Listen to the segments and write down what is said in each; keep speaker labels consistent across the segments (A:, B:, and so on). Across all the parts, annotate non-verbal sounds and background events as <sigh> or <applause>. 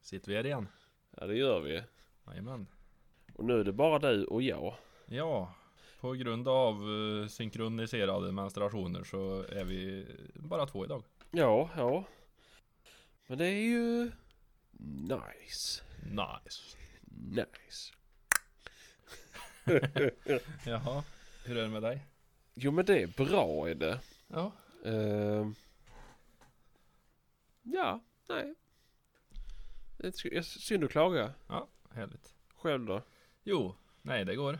A: Sitter vi här igen?
B: Ja, det gör vi.
A: Jajamän.
B: Och nu är det bara du och jag.
A: Ja, på grund av eh, synkroniserade menstruationer så är vi bara två idag.
B: Ja, ja. Men det är ju... Nice.
A: Nice.
B: Nice.
A: Jaha, hur är det med dig?
B: Jo, men det är bra är det.
A: Ja.
B: Ehm. ja, nej. Det är sy- jag- Synd att klaga.
A: Härligt.
B: Själv då?
A: Jo, nej det går.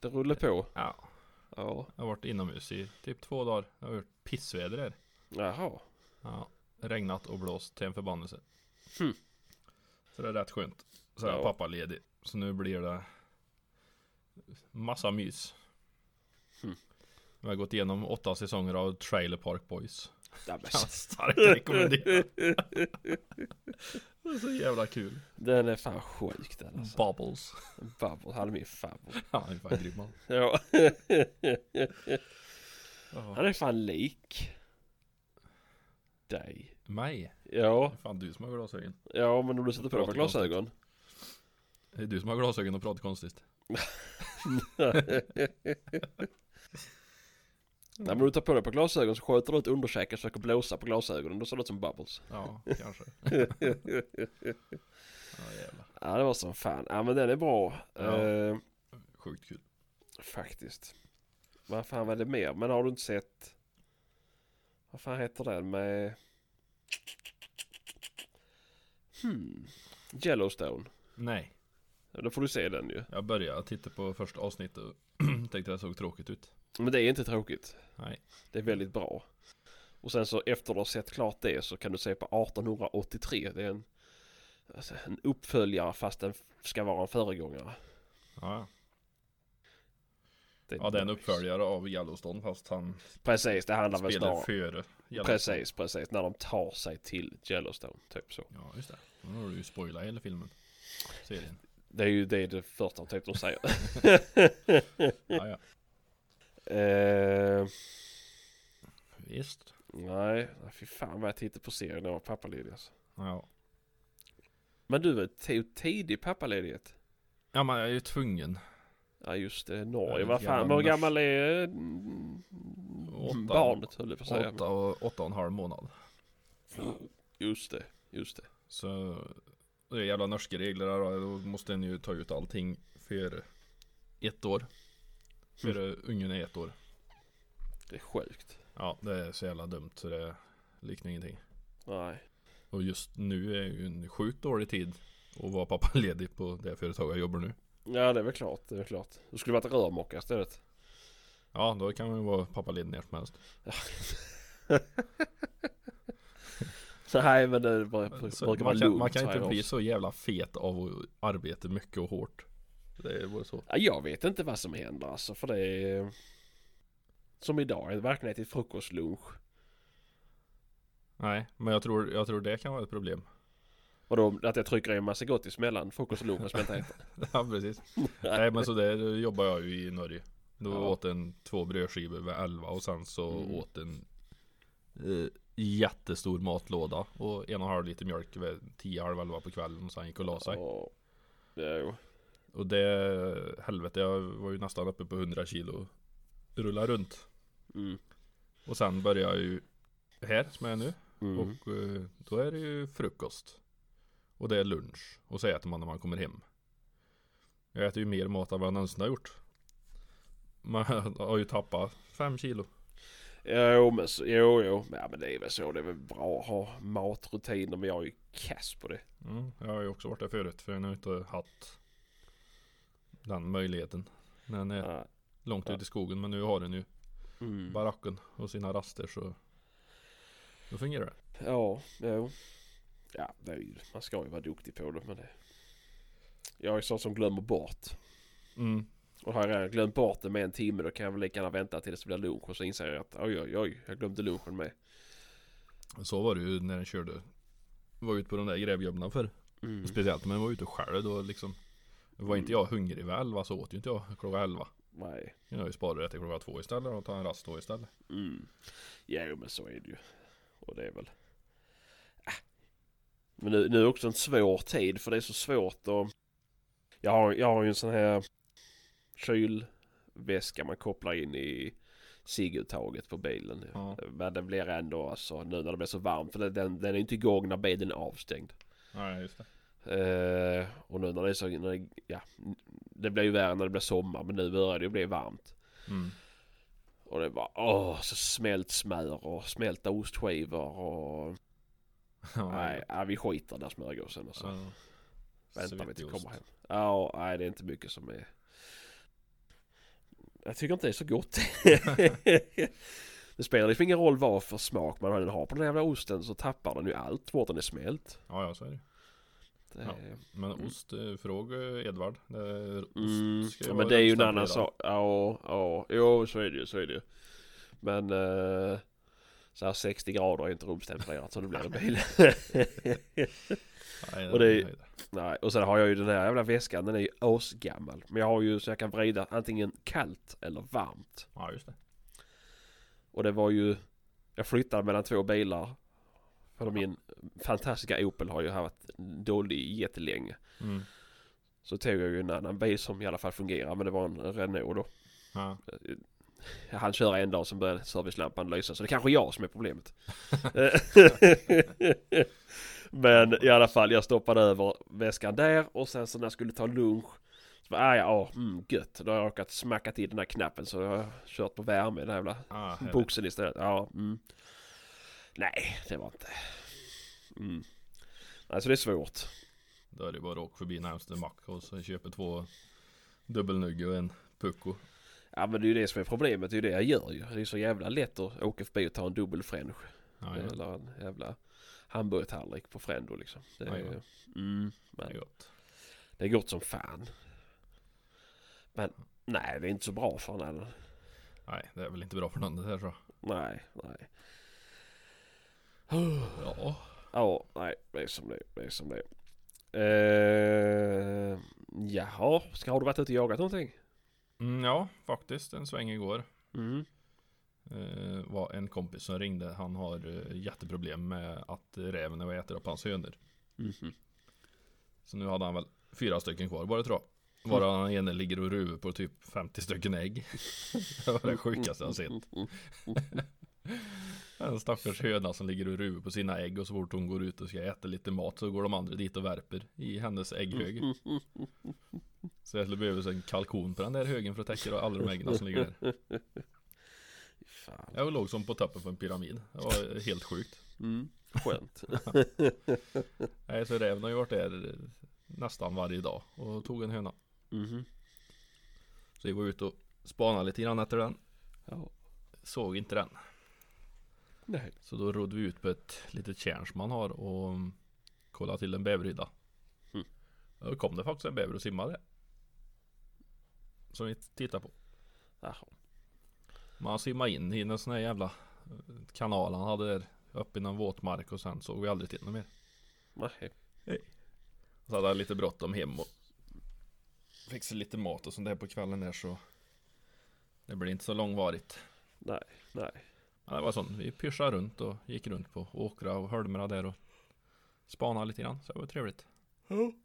B: Det rullar på.
A: Ja.
B: Ja.
A: Jag har varit inomhus i typ två dagar. Det har varit pissväder här.
B: Jaha.
A: Ja. Regnat och blåst till en förbannelse. Hm.
B: Hmm.
A: Så det är rätt skönt. Så är
B: Ja.
A: pappa ledig. Så nu blir det massa mys. Hm.
B: Hmm.
A: Jag har gått igenom åtta säsonger av Trailer Park <laughs> Boys.
B: Ja, men
A: Kan starkt rekommendera. det är så jävla kul.
B: <laughs> Den är fan sjuk den alltså.
A: Bubbles. <laughs>
B: Babbel, han är min favorit.
A: Ja, det är fan grym man.
B: Ja.
A: Ja.
B: Han är fan lik. Dig.
A: Mig?
B: Ja,
A: Det är fan du som har glasögon.
B: ja men om du sätter på dig
A: Pratar
B: för glasögon.
A: Det är du som har glasögon och pratar konstigt.
B: Nej men om du tar på dig på glasögon så sköter du ut underkäken och försöker blåsa på glasögonen. Då ser det ut
A: <laughs>
B: som bubbles.
A: Ja, kanske. ja, jävlar.
B: Ja det var som fan. Ja men den är bra.
A: Ja.
B: Eh,
A: Sjukt kul.
B: faktiskt. Vad fan var det mer? Men har du inte sett? Vad fan heter den med? Hmm. Yellowstone.
A: Nej,
B: Ja, Då får du se den ju.
A: jag började titta på första avsnittet och <clears throat> tänkte det såg tråkigt ut.
B: Men det är inte tråkigt.
A: Nej.
B: Det är väldigt bra. Och sen så efter du har sett klart det så kan du se på 1883. Det är en, alltså, en uppföljare fast den ska vara en föregångare.
A: Ja,
B: Det
A: ja det är en
B: nice.
A: uppföljare av Yellowstone fast han
B: Precis, det handlar väl
A: spelar liksom.
B: snarare.
A: före Yellowstone.
B: Precis, precis. När de tar sig till Yellowstone, typ så.
A: Ja, just det. Nu har du ju spoilat hela filmen. Serien.
B: Det är ju det, är det första typ
A: <laughs>
B: de säger.
A: Ja, ja.
B: eh,
A: Visst.
B: nej, nej, fy fan vad jag tittade på serien när jag var pappaledig alltså.
A: Ja.
B: Men du, tog tidig pappaledighet?
A: ja, men jag är ju tvungen.
B: Ja just det,
A: Ja, det
B: Norge.
A: är
B: Vad fan,
A: gammal
B: hur
A: nors-
B: gammal är mm,
A: Åtta.
B: barnet höll jag på att säga.
A: Åtta och, åtta och en halv månad.
B: Just det, just det.
A: Så det är jävla norska regler där då. Då måste en ju ta ut allting före ett år. Före
B: Mm.
A: ungen är ett år.
B: Det är sjukt.
A: Ja, det är så jävla dumt så det liknar ingenting.
B: Nej.
A: Och just nu är ju en sjukt dålig tid att vara pappaledig på det företag jag jobbar nu.
B: Ja det är väl klart, det är väl klart. Du skulle varit rörmokare istället. <laughs>
A: Ja, då kan man ju vara pappaledig när som helst.
B: Nej men det bör-
A: Så
B: brukar vara
A: man, kan,
B: lugnt.
A: man kan
B: säger
A: inte
B: de.
A: bli så jävla fet av att arbeta mycket och hårt. Det är bara så.
B: Ja, jag vet inte vad som händer alltså för det är... Som idag, jag verkligen ätit frukostlunch.
A: Nej, men jag tror, jag tror det kan vara ett problem. <laughs>
B: Vadå att jag trycker i en massa gottis mellan frukostlunchen som jag inte äter?
A: Ja precis. Nej men så där jobbar jag ju i Norge. Då
B: Ja.
A: åt en två brödskivor vid elva och sen så
B: Mm.
A: åt en eh, jättestor matlåda och en och en halv liter mjölk vid tio, halv elva på kvällen och sen gick och la sig.
B: Och... Jo.
A: Och det, helvete jag var ju nästan uppe på 100 kilo. Rulla runt.
B: Mm.
A: Och sen börjar jag ju här som jag är nu.
B: Mm.
A: Och eh, då är det ju frukost. Och det är lunch. Och så äter man när man kommer hem. Jag äter ju mer mat än vad jag någonsin har gjort. Man <laughs> har ju tappat fem kilo.
B: Jo men så, jo jo. Ja men det är väl så. Det är väl bra att ha matrutiner men jag är ju kass på det.
A: Mm, jag har ju också varit där förut för jag har inte haft den möjligheten. Den är
B: Ja.
A: långt
B: Ja.
A: ut i skogen men nu har den ju
B: Mm.
A: baracken och sina raster så då fungerar det.
B: Ja, jo. Ja, det är ju, man ska ju vara duktig på det men det. Jag är sån som glömmer bort.
A: Mm.
B: Och har jag redan glömt bort det med en timme då kan jag väl lika gärna vänta tills det blir lunch och så inser jag att oj oj oj, jag glömde lunchen med.
A: Så var det ju när den körde. Var ute på de där grävjobbena förr.
B: Mm.
A: Speciellt om jag var ute själv då liksom Var inte jag hungrig vid elva så åt ju inte jag klockan elva
B: Nej.
A: Jag har ju sparat det till klockan två istället och ta en rast då istället
B: Mm. Ja, jo men så är det ju. Och det är väl. Ah. Men nu, nu är också en svår tid för det är så svårt att... Jag har, jag har ju en sån här kylväska man kopplar in i cigguttaget på bilen.
A: Ja.
B: Men den blir ändå alltså nu när det blir så varmt. För den, den, den är inte igång när bilen är avstängd.
A: Nej, just det.
B: Eh, och nu när det är så... När det, ja, det blir ju värre när det blir sommar. Men nu börjar det ju bli varmt.
A: Mm. <laughs>
B: Och det är bara åh, så smält smör och smälta ostskivor och...
A: Ja,
B: Nej, nej vi skiter i den här smörgåsen och så.
A: ja.
B: Vänta vi
A: Svettig
B: till
A: ost.
B: kommer hem. Ja, nej det är inte mycket som är... Jag tycker inte det är så gott. <laughs> det spelar liksom ingen roll vad för smak man än har på den här jävla osten så tappar den ju allt vart den är smält.
A: Ja, ja, så är det ju.
B: Det...
A: Ja. Men
B: Mm.
A: ost, eh, fråga Edvard. Det är- Ost
B: Mm,
A: ska
B: ja,
A: vara
B: men det är ju en
A: stämpel
B: annan
A: idag.
B: sak. Ja, ja, jo så är det ju, så är det ju. Men eh, så här 60 grader är inte rumstempererat så det blir det bil. <laughs>
A: Nej,
B: Och det är-
A: nej, nej.
B: Nej, och sen har jag ju den här jävla väskan, den är ju asgammal. Men jag har ju så jag kan vrida antingen kallt eller varmt.
A: Ja, just det.
B: Och det var ju... Jag flyttade mellan två bilar. För min fantastiska Opel har ju varit dålig jättelänge.
A: Mm.
B: Så tog jag ju en annan bil som i alla fall fungerar. Men det var en Renault då. Mm.
A: Ja.
B: Han köra en dag som började servicelampan lysa. Så det kanske är jag som är problemet. men i alla fall, jag stoppade över väskan där. Och sen så när jag skulle ta lunch. Så bara, ah, ja, ah, mm, gött. Då har jag råkat smacka till den här knappen. Så jag har kört på värme i den här jävla
A: Ah, härligt.
B: Boxen istället, ja. Mm. Nej, det var inte. Mm. Nej, så det är svårt.
A: Då är det bara att åka förbi närmaste mack och så köper två dubbelnugge och en pucko.
B: Ja, men det är ju det som är problemet, det är ju det jag gör ju. Det är så jävla lätt att åka förbi och ta en dubbel french.
A: Ja, ja.
B: Eller en jävla hamburgertallrik på Frendo liksom. Det är,
A: Ja, ja.
B: mm,
A: Det är
B: men
A: gott.
B: det är gott som fan. Men nej, det är inte så bra för en annan.
A: Nej, det är väl inte bra för någon det här så.
B: Nej, nej.
A: Ja.
B: Ja, nej, det är som det, det är som det. Uh, jaha, ska, har du varit ute och jagat någonting?
A: Mm, ja, faktiskt en sväng igår.
B: Mm.
A: Eh, var en kompis som ringde. Han har eh, jätteproblem med att eh, räven är och äter upp hans hönor.
B: Mhm.
A: Så nu hade han väl fyra stycken kvar bara tror jag. Varav den ene ligger och ruvar på typ 50 stycken ägg. <laughs> det var det sjukaste jag sett. En stackars höna som ligger och ruvar på sina ägg och så fort hon går ut och ska äta lite mat så går de andra dit och värper i hennes ägghög. Så jag skulle behöva en kalkon på den där högen för att täcka alla de äggen som ligger där.
B: Fan.
A: Jag låg som på toppen på en pyramid. Det var helt sjukt.
B: Mm. Skönt.
A: Nej, så räven har ju varit där nästan varje dag och tog en höna.
B: Mhm.
A: Så vi var ute och spanade lite grann efter den.
B: Ja.
A: Såg inte den.
B: Nej.
A: Så då rodde vi ut på ett litet tjärn som man har och mm, kollade till en bäverhydda.
B: Mm.
A: Då kom det faktiskt en bäver och simmade. Som vi tittade på.
B: Jaha.
A: Man simmade in i en sån här jävla eh, kanal han hade där. Upp i någon våtmark och sen såg vi aldrig till honom mer.
B: Nej.
A: Så hade han lite bråttom hem och fixade lite mat och sånt där på kvällen där så det blir inte så långvarigt.
B: Nej. Nej.
A: Men det var sånt. Vi pyschade runt och gick runt på åkrar och holmar där och spanade lite grann. Så det var trevligt.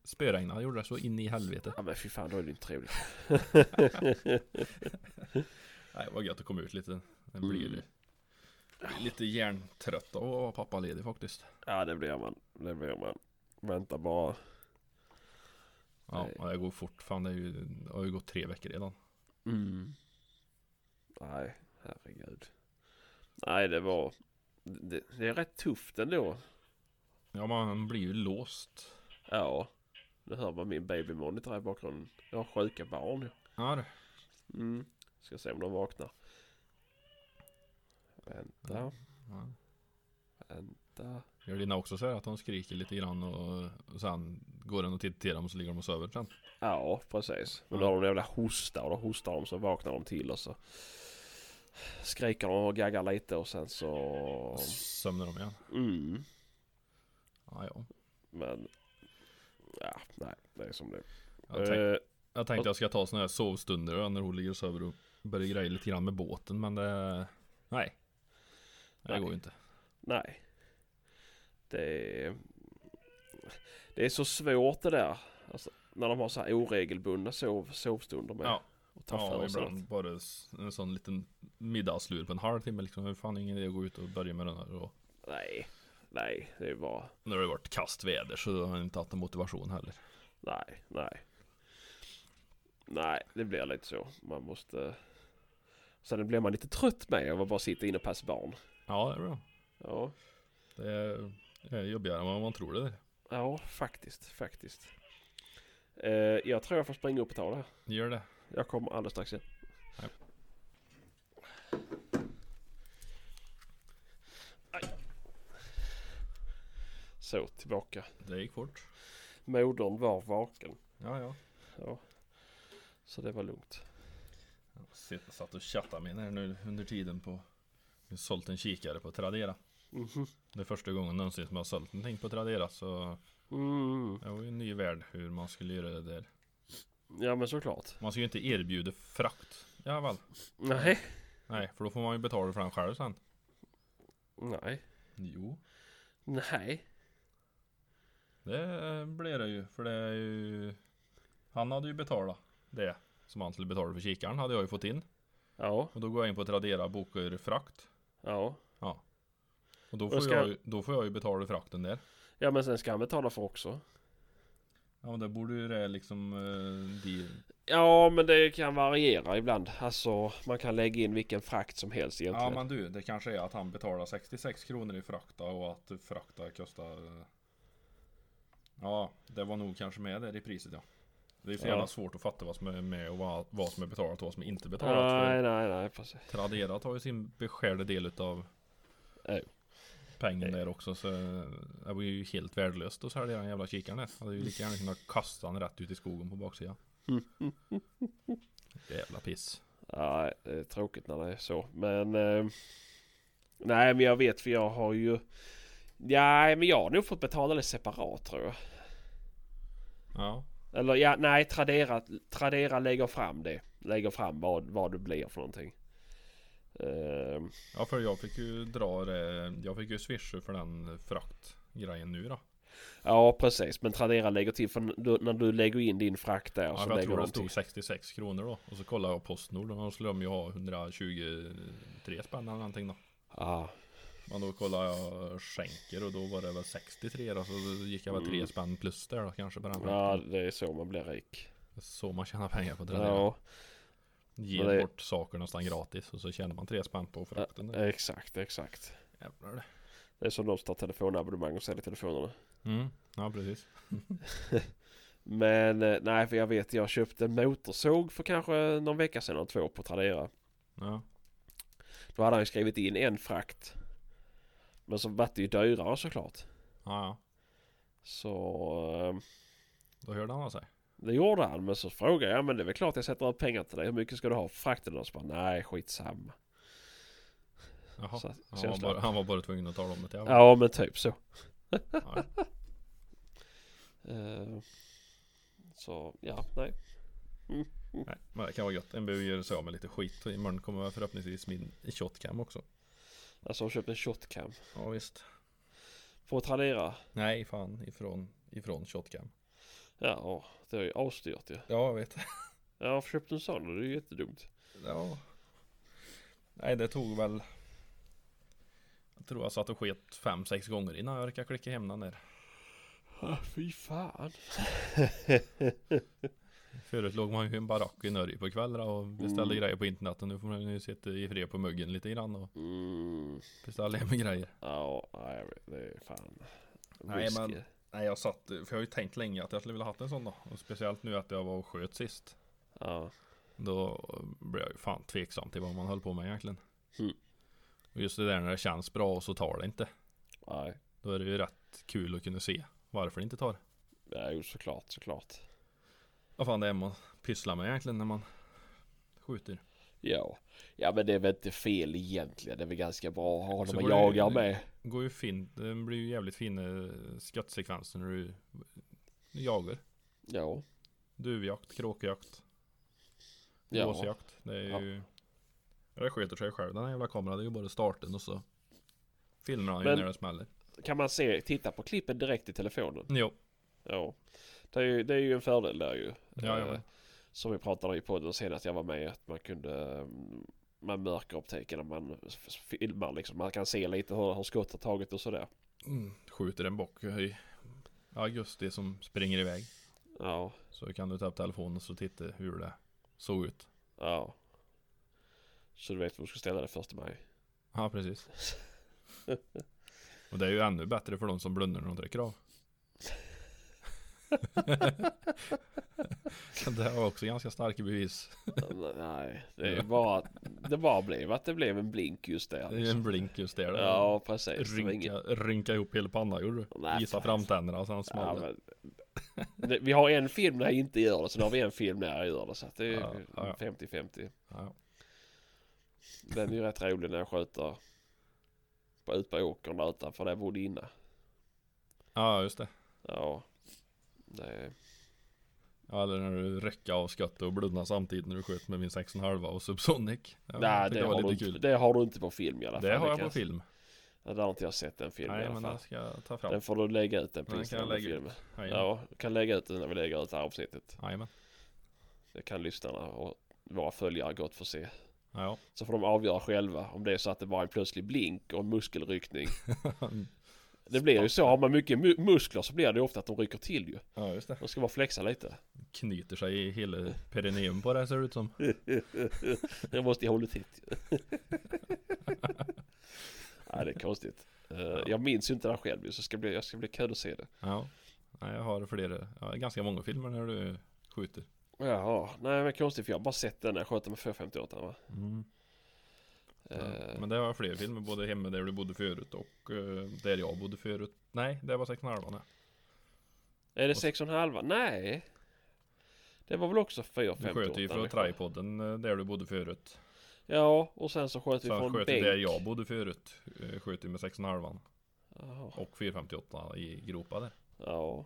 A: Spöregnade gjorde det så in i helvete.
B: Ja men fy fan, då är det inte trevligt. <laughs>
A: Nej, det var gött att komma ut lite. Den blir ju lite hjärntrött av att vara pappaledig faktiskt.
B: Ja det blir man. Det blir man. Vänta bara.
A: Ja,
B: Nej.
A: och det går fort. Fan, det, är ju, det har ju gått tre veckor redan.
B: Mm. Nej, herregud. Nej det var. Det, det är rätt tufft ändå.
A: Ja, man blir ju låst.
B: Ja. Nu hör man min babymonitor här i bakgrunden. Jag har sjuka barn ju.
A: Ja, det-
B: Mm. Ska se om de vaknar. Vänta,
A: ja.
B: vänta.
A: Gör dina också så här att de skriker lite grann och, och sen går den och tittar till dem och så ligger de och sover sen.
B: Ja, precis. Men då har de en jävla hosta och då hostar de så vaknar de till och så skriker de och gaggar lite och sen så...
A: Och sömnar de igen.
B: Mm.
A: Ja, ja.
B: Men... Ja, nej, det är som det är.
A: Jag, tänk,
B: Eh,
A: jag tänkte jag ska ta såna här sovstunder när hon ligger och sover och börjar greja lite grann med båten men det... Nej. Det
B: Nej.
A: går ju inte.
B: nej. Det... Det är så svårt det där. Alltså, när de har så här oregelbundna sov, sovstunder med.
A: Ja.
B: Och tar
A: Ja,
B: för
A: och
B: sig
A: ibland
B: något.
A: bara s- en sån liten middagslur på en halvtimme liksom. Det är fan ingen idé att gå ut och börja med den här. Och
B: Nej, nej, det är bara...
A: när det har varit kast väder så har jag inte haft någon motivation heller.
B: Nej, nej. Nej, det blir lite så. Man måste... Sen blir man lite trött med av att bara sitta inne och passa barn.
A: Ja, det är bra.
B: Ja,
A: Det är, det är jobbigare än vad man tror det är.
B: ja faktiskt, faktiskt. Eh, jag tror jag får springa upp och ta det här.
A: Gör det.
B: Jag kommer alldeles strax igen.
A: Nej.
B: Aj. Så, tillbaka.
A: Det gick fort.
B: Modern var vaken.
A: Ja, ja.
B: Ja. Så det var lugnt.
A: Jag sitter- satt och chattade med henne här nu under tiden på... Jag har sålt en kikare på Tradera.
B: Mhm.
A: Det är första gången någonsin som jag har sålt någonting på Tradera så...
B: Mm.
A: Det var ju en ny värld hur man skulle göra det där.
B: Ja men såklart.
A: Man ska ju inte erbjuda frakt. Ja, väl.
B: Nej.
A: Nej, för då får man ju betala för den själv sen.
B: Nej.
A: Jo.
B: Nej.
A: Det blir det ju, för det är ju... Han hade ju betalat det som han skulle betala för kikaren, hade jag ju fått in.
B: Ja.
A: Och då går jag in på Tradera och bokar frakt.
B: Ja.
A: Och då
B: Och
A: får,
B: ska-
A: jag, ju- då får jag ju betala frakten där.
B: Ja men sen ska han betala för också.
A: Ja men det borde ju det liksom... eh, de...
B: Ja men det kan variera ibland. Alltså man kan lägga in vilken frakt som helst egentligen.
A: Ja men du, det kanske är att han betalar 66 kronor i frakta och att frakta kostar... eh, Ja, det var nog kanske med där i priset ja. Det är så
B: Ja.
A: jävla svårt att fatta vad som är med och vad, vad som är betalat och vad som inte betalat. för-
B: Nej nej nej precis.
A: Tradera tar ju sin beskärda del utav
B: Ja.
A: pengen
B: Ja.
A: där också så eh, det var ju helt värdelöst att sälja den jävla kikaren där. Hade ju lika gärna kunnat kasta den rätt ut i skogen på
B: <laughs>
A: baksidan. Jävla piss.
B: Nej det är tråkigt när det är så. Men. Eh, nej men jag vet för jag har ju. Nej men jag har nog fått betala det separat tror jag.
A: Ja,
B: Eller ja nej Tradera, Tradera lägger fram det. Lägger fram vad, vad det blir för någonting. Ehm,
A: ja för jag fick ju dra det, jag fick ju swisha för den fraktgrejen nu då.
B: Ja precis men Tradera lägger till för n- du, när du lägger in din frakt där
A: Ja,
B: så
A: för jag
B: lägger
A: tror det
B: de till.
A: stod 66 kronor då. Och så kollade jag Postnord och då skulle de ju ha 123 spänn eller någonting då.
B: Ja.
A: Men då kollade jag skänker och då var det väl 63 då, så då gick jag väl 3
B: Mm.
A: spänn plus där då kanske på den
B: ja
A: ja.
B: det är så man blir rik.
A: Så man tjänar pengar på Tradera.
B: Ja
A: Ger
B: det-
A: bort saker nästan gratis och så tjänar man 3 spänn på frakten.
B: eh.
A: där.
B: exakt exakt.
A: Jävlar det.
B: Det är som de som tar telefonabonnemang och säljer telefonerna.
A: Mm, ja precis.
B: Men eh, nej för jag vet jag köpte en motorsåg för kanske någon vecka sedan eller två på Tradera.
A: Ja.
B: Då hade han ju skrivit in en frakt. Men så vart det ju dyrare såklart.
A: ja, ja.
B: Så eh,
A: Då hörde han av sig.
B: Det gjorde han men så frågade jag men det är väl klart jag sätter av pengar till dig. Hur mycket ska du ha för frakten? Och så bara nej skitsamma.
A: Jaha.
B: Så- så
A: han,
B: jag
A: var
B: slapp.
A: bara, han var bara tvungen att tala om det. Ja.
B: Ja men typ så.
A: Ja.
B: <laughs> Eh, så ja, nej.
A: Nej, men det kan vara gött. En behöver göra sig av med lite skit. Och imorgon kommer förhoppningsvis min shotcam också.
B: Alltså jag köpte en shotcam.
A: Ja visst.
B: För att Tradera.
A: Nej fan, ifrån, ifrån shotcam.
B: Ja, åh, det är ju asdyrt ju.
A: Ja, jag vet.
B: Ja, jag köpte en sån och det är ju jättedumt.
A: Ja. Nej det tog väl Jag tror jag satt och sket fem sex gånger innan jag orkade klicka hem den där
B: Ah, fy fan.
A: Förut låg man ju i en barack i Norge på kvällarna och beställde
B: Mm.
A: grejer på internet och nu får man ju sitta i fred på muggen lite grann och
B: Mm.
A: beställa hem grejer
B: Ja, nej, jag vet, det är fan.
A: Nej,
B: Whisky.
A: men- Nej jag satt, för jag har ju tänkt länge att jag skulle vilja haft en sån då och speciellt nu att jag var och sköt sist
B: Ja.
A: Då blev jag ju fan tveksam till vad man höll på med egentligen
B: Mm.
A: Och just det där när det känns bra och så tar det inte
B: Nej.
A: Då är det ju rätt kul att kunna se varför det inte tar
B: Ja, jo såklart, såklart.
A: Vad fan det är man pysslar med egentligen när man skjuter.
B: Ja. Ja men det är väl inte fel egentligen. Det är väl ganska bra att ha
A: Så
B: när man
A: går det-
B: jagar med.
A: Det går ju fint, det blir ju jävligt fina skottsekvenser när du jagar.
B: Ja.
A: Duvjakt, kråkjakt,
B: Ja.
A: gåsjakt. Det är ju... Ja. Det sköter sig själv den här jävla kameran. Det är ju bara starten och så filmar han ju
B: Men-
A: när det smäller.
B: kan man se, titta på klippen direkt i telefonen.
A: Jo.
B: Ja. Det är ju, det är ju en fördel där ju.
A: Ja, ja.
B: Eh, Som vi pratade i podden senast jag var med att man kunde eh, man mörker upp tecken när man f- filmar liksom. Man kan se lite hur, hur skottet tagit och sådär.
A: Mm, skjuter en bock i augusti som springer iväg.
B: Ja,
A: Så kan du ta upp telefonen och så titta hur det såg ut.
B: ja. Så du vet var du ska ställa det första maj.
A: Ja, precis. Och det är ju ännu bättre för de som blundar när de dricker av. <laughs> det var också ganska starka bevis.
B: <laughs> Nej, det är bara det bara blev att det blev en blink just där. liksom.
A: Det är ju en blink just där.
B: Ja, precis. Det var
A: rynka, rynka ihop hela pannan gjorde du.
B: Nej,
A: Visa
B: fan.
A: framtänderna och sen
B: Ja,
A: small det.
B: men, det, vi har en film när jag inte gör det, sen har vi en film när jag gör det. Så att det är
A: Ja, ja, ja.
B: 50-50.
A: ja.
B: Den är ju rätt rolig när jag skjuter på, ut på åkern där utanför där jag bodde innan.
A: ja, just det.
B: Ja. Det,
A: Ja, eller när du räckade av skottet och blundade samtidigt när du sköt med min 6,5 och Subsonic. Ja, jag
B: nej,
A: tyckte
B: det, har
A: var
B: du
A: lite
B: inte,
A: kul.
B: det har du inte på film i alla fall.
A: Det har
B: Det
A: jag
B: kan
A: på film.
B: Ja, Där har inte jag sett den filmen i
A: Nej,
B: alla
A: men den
B: fall.
A: ska jag ta fram.
B: Den får du lägga ut den på
A: Den kan jag
B: Instagram. Den
A: lägga ut.
B: filmen.
A: Jajamän.
B: Ja, jag kan lägga ut den när vi lägger ut det här avsnittet.
A: Jajamän.
B: Det kan lyssnarna och våra följare gott få se.
A: Ja,
B: Så får de avgöra själva om det är så att det var en plötslig blink och
A: <laughs>
B: en muskelryckning. Det blir ju så, har man mycket mu- muskler så blir det ju ofta att de rycker till ju.
A: ja just det.
B: De ska bara flexa
A: <laughs>
B: lite.
A: Knyter sig i hela perineum på det ser det ut som.
B: Jag måste
A: <laughs>
B: hålla tätt ju. Nej, det är konstigt. Eh, Jag minns ju inte det här själv ju, så ska bli, jag ska bli kul att se det.
A: Ja. Nej, jag har flera, ja, ganska många filmer när du skjuter.
B: Jaha, nej men konstigt för jag har bara sett den när jag sköt den med 458 va?
A: Mm. Ja.
B: Eh,
A: Men det har jag flera filmer, både hemma där du bodde förut och eh, där jag bodde förut. Nej, det var 6,5 nej.
B: Är det 6,5? Nej! Det var väl också 458?
A: Du sköt ju från
B: eller?
A: tripoden eh, där du bodde förut.
B: Ja, och sen så sköt vi
A: Sen
B: från
A: sköt
B: bänk.
A: du där jag bodde förut. eh, Sköt du med 6,5
B: Jaha.
A: och 458 i gropa där.
B: Ja.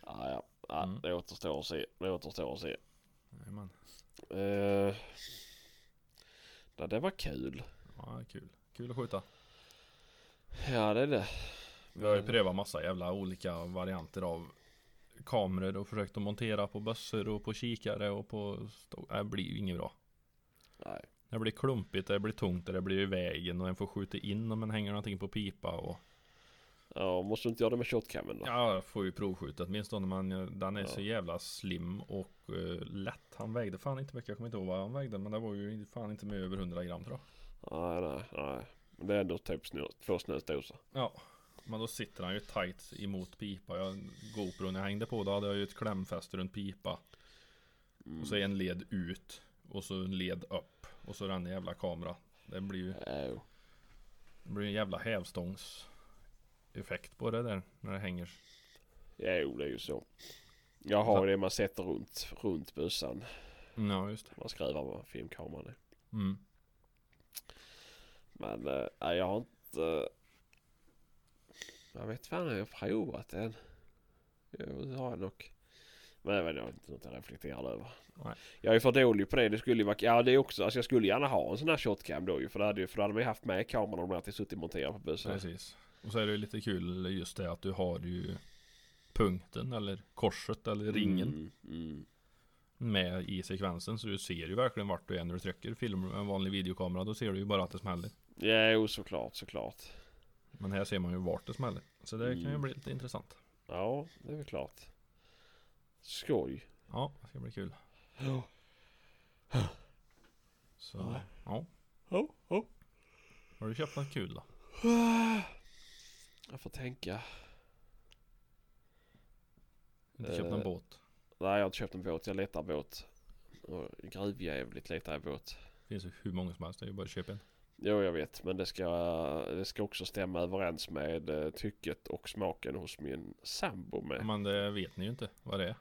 B: Ah, ja. Ah,
A: Mm.
B: Det återstår att se. Det återstår att se.
A: Jajamän.
B: Eh, ja, det var kul.
A: Ja, kul. Kul att skjuta.
B: Ja, det är det.
A: Vi har ju
B: Men-
A: prövat massa jävla olika varianter av kameror och försökt att montera på bössor och på kikare och på stå- Det blir ju inget bra.
B: Nej.
A: Det blir klumpigt, det blir tungt, det blir i vägen och en får skjuta in om en hänger någonting på pipa och
B: Ja, måste du inte göra det med shotcamen då?
A: Ja, jag får ju provskjuta åtminstone men den är så
B: Ja.
A: jävla slim och eh, lätt. Han vägde fan inte mycket, jag kommer inte ihåg vad han vägde men det var ju fan inte med över 100 gram tror jag.
B: Nej, nej, nej. Men det är ändå typ snö, två snösdosor.
A: Ja, men då sitter han ju tight emot pipa. Jag, GoPron jag hängde på, då hade jag ju ett klämfäste runt pipa. Och så en led ut. Och så en led upp. Och så den jävla kamera. Det blir ju
B: Oh.
A: det blir en jävla hävstångseffekt på det där. När det hänger.
B: Jo, det är ju så. Jag har ju det man sätter runt, runt bössan.
A: Ja, just det.
B: Man skruvar med filmkameran. i.
A: Mm.
B: Men eh, nej, jag har inte... eh, Jag vet fan om jag har provat den. Jo, det har jag nog. Men jag vet inte något jag reflekterar över.
A: Nej.
B: Jag är för dålig på det. Det skulle ju vara... Ja, det är också... Alltså jag skulle gärna ha en sån här shotcam då ju. För, det hade, ju- för då hade man ju haft med kameran om man alltid suttit monterad på bussen.
A: Precis. Och så är det ju lite kul just det att du har ju punkten eller korset eller ringen
B: Mm, mm.
A: med i sekvensen. Så du ser ju verkligen vart du är när du trycker. Filmar du med en vanlig videokamera då ser du ju bara att det smäller.
B: Jo, såklart, såklart.
A: Men här ser man ju vart det smäller. Så det kan ju
B: Mm.
A: bli lite intressant.
B: Ja, det är väl klart. Skoj.
A: Ja, det ska bli kul.
B: Ja.
A: Så, ja.
B: Oh, oh.
A: Har du köpt något kul då?
B: Jag får tänka.
A: Inte köpt någon
B: Eh.
A: båt?
B: Nej, jag har inte köpt en båt. Jag letar båt. Och Gruvjävligt letar jag båt.
A: Det finns ju hur många som helst, det är ju bara att köpa en.
B: Jo, jag vet. Men det ska, det ska också stämma överens med eh, tycket och smaken hos min sambo med.
A: Men det vet ni ju inte vad det är.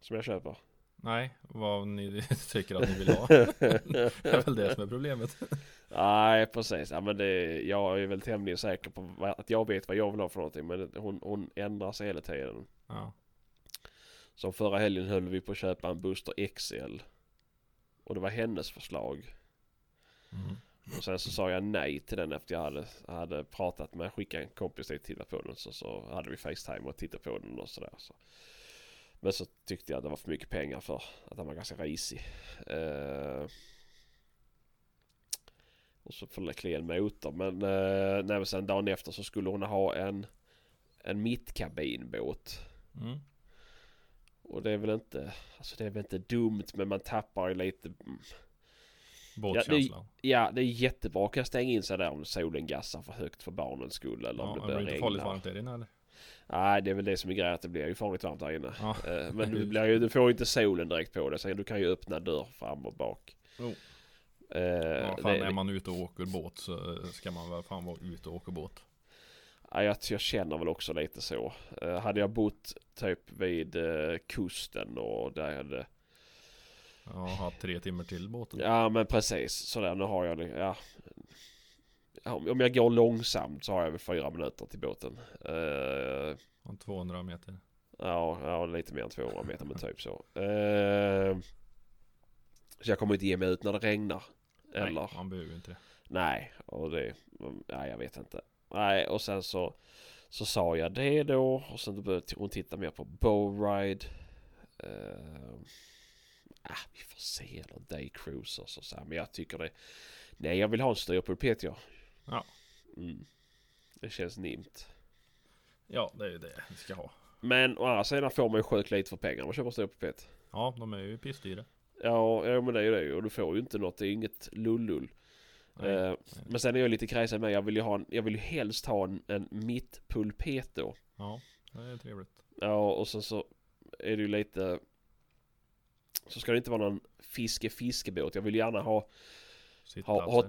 B: Som jag köper.
A: Nej, vad ni <laughs> tycker att ni vill
B: <laughs>
A: ha. det är väl det som är problemet.
B: Nej, precis. Ja, men det, jag är väl tämligen säker på vad- att jag vet vad jag vill ha för någonting. Men hon, hon ändrar sig hela tiden.
A: Ja,
B: Som förra helgen höll vi på att köpa en Buster XL. Och det var hennes förslag.
A: mm.
B: Och sen så sa jag nej till den efter jag hade, hade pratat med, skickat en kompis till att titta på den. Så, så hade vi Facetime och tittade på den och sådär. Så. Men så tyckte jag att det var för mycket pengar för att den var ganska risig. Eh, och så föll det kli en motor. Men, eh, nej, men sen dagen efter så skulle hon ha en, en mittkabinbåt.
A: Mm.
B: Och det är väl inte, alltså det är väl inte dumt men man tappar ju lite mm,
A: Båtkänslan.
B: Ja, det är jättebra att stänga in sig där om solen gassar för högt för barnens skull eller
A: Ja,
B: om
A: det
B: det börjar
A: blir inte farligt
B: regna.
A: varmt är det eller?
B: Nej, det är väl det som är grejen att det blir ju farligt varmt där inne.
A: Ja. <laughs>
B: Eh, Men du, blir ju, du får ju inte solen direkt på dig, så du kan ju öppna dörr fram och bak.
A: Jo.
B: Eh,
A: Oh. Ja, fan,
B: det-
A: är man ute och åker båt så eh, ska man väl fan vara ute och åka båt.
B: Ja, jag, jag känner väl också lite så. Eh, hade jag bott typ vid eh, kusten och där hade...
A: Ja, ha tre timmar till båten.
B: Ja men precis, sådär nu har jag det. Ja. Ja, Om om jag går långsamt så har jag väl fyra minuter till båten. Eh,
A: Om 200 meter.
B: Ja, ja lite mer än 200 meter men typ så. Eh, så jag kommer inte ge mig ut när det regnar. Eller?
A: Nej,
B: Nej,
A: man behöver ju inte det.
B: och det... mm, Nej, jag vet inte. Nej, och sen så, så sa jag det då. Och sen började hon titta mer på Bowride. Eh, ah, vi får se. Eller Day Cruisers och så här. Men jag tycker det... Nej, jag vill ha en styrpulpet jag.
A: Ja.
B: Mm. Det känns nimt.
A: Ja, det är ju det vi ska ha.
B: Men å andra sidan får man ju sjukt lite för pengarna om man köper en styrpulpet.
A: Ja, de är ju
B: Eh,
A: pissdyra.
B: Ja, ja men det är ju det ju. Och du får ju inte något. Det är ju inget lullull.
A: Nej.
B: Eh, men sen är jag lite kräsen med. Jag vill ju, ha en, jag vill ju helst ha en, en mittpulpet då.
A: Ja, det är trevligt.
B: Ja, och sen så är det ju lite... Så ska det inte vara någon fiske-fiskebåt. Jag vill gärna ha,
A: Sittplatser.
B: ha-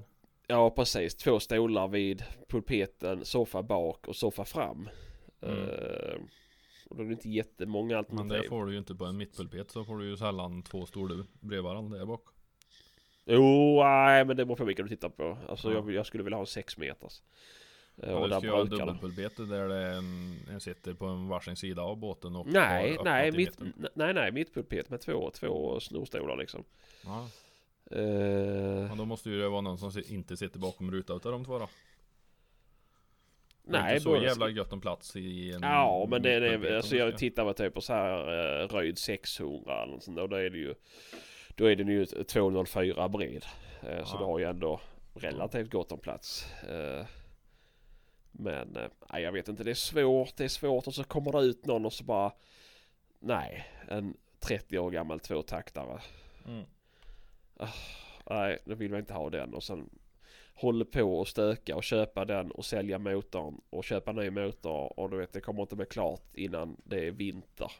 B: ja precis, två stolar vid pulpeten, soffa bak och soffa fram.
A: Mm.
B: Eh, och då är det inte jättemånga
A: Men
B: alternativ.
A: det får du ju inte på en mittpulpet så får du ju sällan två stolar bredvid varandra där bak.
B: Jo, nej men det beror på vilka du tittar på. Alltså
A: Ja.
B: jag, vill, jag skulle vilja ha en sex meters. Eh,
A: Ja,
B: och
A: du
B: där
A: ska ju ha en
B: brukar de-
A: dubbelpulpet där det är en, en sitter på en varsin sida av båten och har
B: Nej,
A: öppnat
B: nej,
A: i
B: mitt,
A: mitten.
B: nej, nej, mitt pulpet med två, två snorstolar liksom.
A: Ja,
B: Eh,
A: men då måste ju det vara någon som si- inte sitter bakom rutan utav de två då. Det är
B: nej,
A: inte så
B: båda-
A: jävla gött om plats i en
B: Ja, men det,
A: mittpulpet om
B: det, alltså
A: du
B: jag
A: ska-
B: tittar på typ på så här eh, röjd 600 eller något sånt där, och då är det ju Då är den ju 204 bred. Eh, Så
A: Ja.
B: du har ju ändå relativt gott om plats. Eh, men eh, nej, jag vet inte, det är svårt, det är svårt och så kommer det ut någon och så bara Nej, en 30 år gammal tvåtaktare.
A: Mm.
B: Nej, då vill vi inte ha den. Och sen håller på och stöka och köpa den och sälja motorn och köpa ny motor. Och du vet, det kommer inte bli klart innan det är vinter.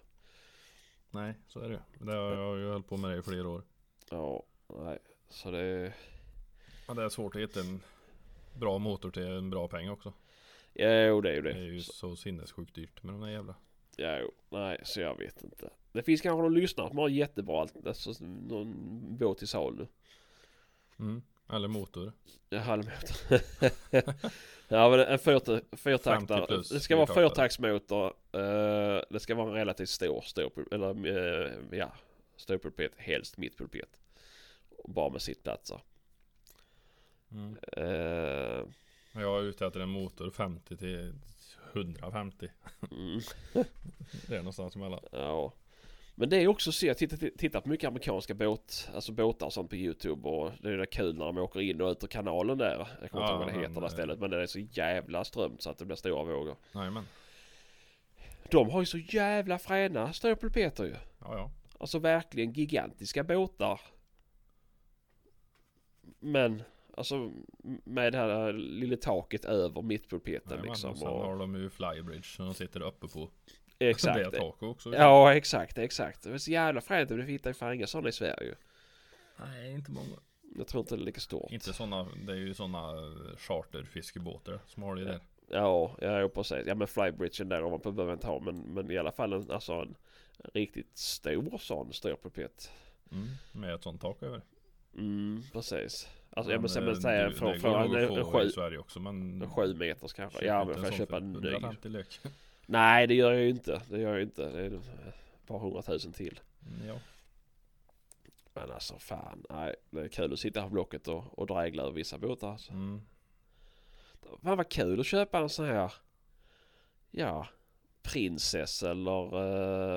A: Nej, så är det ju. Det har jag ju hållit på med det i flera år.
B: Ja, nej. Så det...
A: Men det är svårt att hitta en bra motor till en bra peng också.
B: Jo, det är ju
A: Det
B: det.
A: är ju
B: Så,
A: så sinnessjukt dyrt med de där jävla.
B: jo, nej, så jag vet inte. Det finns kanske någon lyssnare som har jättebra allt. Alltså, någon båt i salu.
A: Mm. Eller motor.
B: Ja, halvmotor. <laughs> ja, men en fyrta-
A: 50
B: fyrtaktare.
A: plus
B: Det ska vara
A: fyrtaktare.
B: fyrtaktsmotor. eh, det ska vara en relativt stor ståpul- eller eh, ja, ståpulpet, helst mittpulpet. Och Bara med sittplatser.
A: Mm.
B: Eh,
A: Jag är ute efter en motor 50 till 150.
B: mm,
A: Det är någonstans emellan.
B: ja. Men det är också så, jag tittar, tittar på mycket amerikanska båt, alltså båtar och sånt på YouTube och det är det kul när de åker in och ut ur kanalen där. Jag kommer
A: Ja,
B: inte ihåg vad det
A: men,
B: heter där
A: eh,
B: stället men det är så jävla strömt så att det blir stora vågor.
A: Jajamän.
B: De har ju så jävla fräna ståpulpeter ju.
A: Ja, ja.
B: Alltså verkligen gigantiska båtar. Men alltså m- med det här lilla taket över mittpulpeten
A: Jajamän,
B: liksom.
A: och sen
B: Och,
A: har de ju flybridge som de sitter uppe på.
B: <laughs> exakt.
A: Det är taket också.
B: Ja exakt, exakt. Det är så jävla fränt. men Du hittar ju fan inga sådana i Sverige ju.
A: Nej, inte många.
B: Jag tror inte det är lika stort.
A: Inte sådana. Det är ju sådana charterfiskebåtar som har det där.
B: Ja, ja jo, precis. Ja men flybridgen där ovanpå behöver jag inte ha. Men, men i alla fall en, alltså en riktigt stor sån ståpulpet.
A: Mm. Med ett sånt tak över.
B: Mm, precis. Alltså ja
A: Men,
B: men sen
A: eh,
B: men säg
A: du,
B: en från,
A: det går nog
B: från
A: att
B: en,
A: få
B: en, sju,
A: i Sverige också men...
B: en sju meters kanske.
A: köp
B: Ja
A: inte
B: men
A: en
B: får jag
A: sån
B: köpa
A: för
B: en ny?
A: 150 lök.
B: Nej, det gör jag ju inte. Det gör jag ju inte. Det är ett par hundratusen till.
A: Mm, Ja.
B: Men alltså fan, nej, det är kul att sitta här på Blocket och, och dregla över vissa båtar. Alltså.
A: Mm.
B: Fan vad kul att köpa en sån här, ja, prinsess eller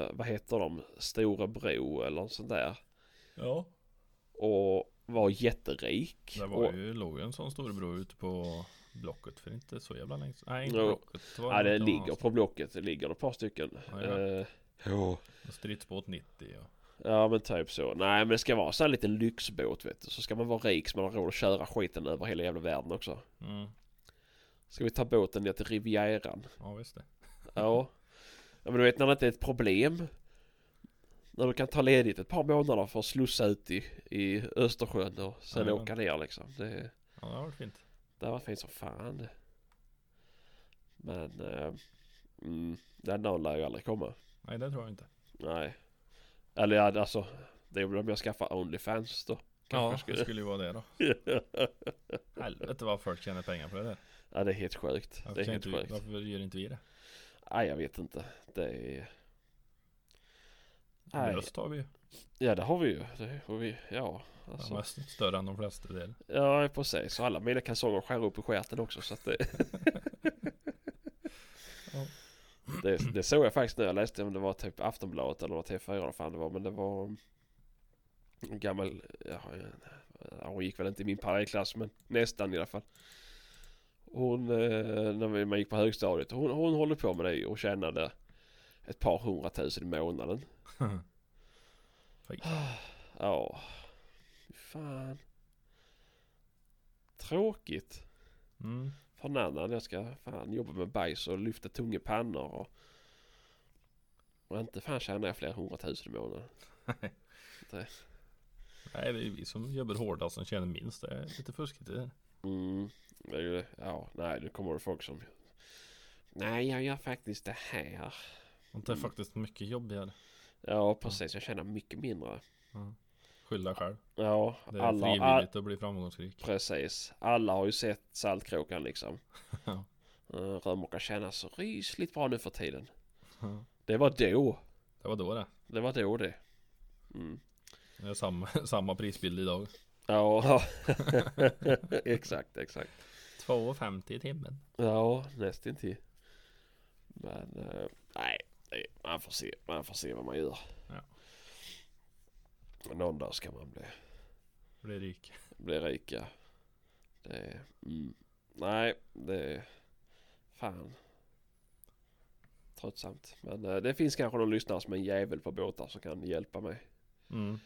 B: eh, vad heter de, Storebro eller något sånt där.
A: Ja.
B: Och vara jätterik.
A: Det var
B: och,
A: ju, låg ju en sån storebror ute på Blocket för inte så jävla länge sedan. Nej, inte
B: Jo.
A: Blocket. Var
B: ja, det
A: något
B: ligger
A: annanstans.
B: på Blocket, det ligger ett par stycken.
A: Ja,
B: Ja,
A: ja.
B: ja.
A: En Stridsbåt 90 ja.
B: ja men typ så. Nej men det ska vara så här en liten lyxbåt vet du. Så ska man vara rik så man har råd att köra skiten över hela jävla världen också.
A: Mm.
B: Ska vi ta båten ner till Rivieran?
A: Ja visst det.
B: Ja. ja men du vet när det inte är ett problem. När du kan ta ledigt ett par månader för att slussa ut i, i Östersjön och sen
A: Jajamän.
B: åka ner liksom. Det,
A: Ja det har varit fint.
B: det var fint som fan. Men eh, mm, den dagen lär ju aldrig komma.
A: Nej det tror jag inte.
B: Nej. Eller ja, alltså. Det är väl om jag skaffar Onlyfans då. <laughs> Kanske jag
A: ja det
B: skulle.
A: skulle ju vara det
B: <laughs>
A: då. Helvete vad folk tjänar pengar på det där.
B: ja det är helt sjukt.
A: Varför,
B: Det är
A: kan
B: helt
A: inte, vi-
B: sjukt.
A: varför gör inte vi det?
B: Nej jag vet inte. Det är... Nej.
A: Bröst har vi ju.
B: Ja det har vi ju. Det har vi, ja.
A: De är
B: Alltså.
A: st- större än de flesta del. <laughs>
B: Ja precis. Och alla mina kalsonger skär upp i stjärten också. Så att det...
A: Ja.
B: det, det såg jag faktiskt nu. Jag läste om det var typ Aftonbladet eller vad TV4 eller vad fan det var. Men det var um, en gammal. Ja, ja, hon gick väl inte i min parallellklass men nästan i alla fall. Hon, eh, när vi- man gick på högstadiet. Hon, hon håller på med det och tjänade ett par hundratusen i månaden.
A: Fy.
B: Ja. Fan. Tråkigt.
A: Mm.
B: För en annan. Jag ska fan jobba med bajs och lyfta tunga pannor och... Och inte fan tjänar jag flera hundratusen i månaden.
A: Nej det är ju vi som jobbar hårdast som tjänar minst. Det är lite fuskigt i det.
B: Mm. Det är ju- Ja, nej, nu kommer det folk som... Nej, jag gör faktiskt det här.
A: Och Det är
B: Mm.
A: faktiskt mycket jobbigare.
B: Ja, precis. Jag tjänar mycket mindre.
A: Skylla själv.
B: Ja,
A: Det är
B: alla... all-
A: frivilligt att bli framgångsrik.
B: Precis. Alla har ju sett Saltkråkan liksom.
A: Ja.
B: Eh, Rörmokare tjänar så rysligt bra nu för tiden.
A: Ja.
B: Det var då.
A: Det var då det.
B: Det var då det. Mm.
A: Det är samma, <laughs> samma prisbild idag.
B: Ja, <laughs> exakt, exakt.
A: 2,50 i timmen.
B: Ja, nästintill. Men eh, nej, nej, man får se, man får se vad man gör.
A: Ja.
B: Någon dag ska man bli,
A: Blir rik.
B: bli rika. Det, mm, nej, det fan. Tröttsamt. Men eh, det finns kanske någon lyssnare som är en jävel på båtar som kan hjälpa mig.
A: Mm.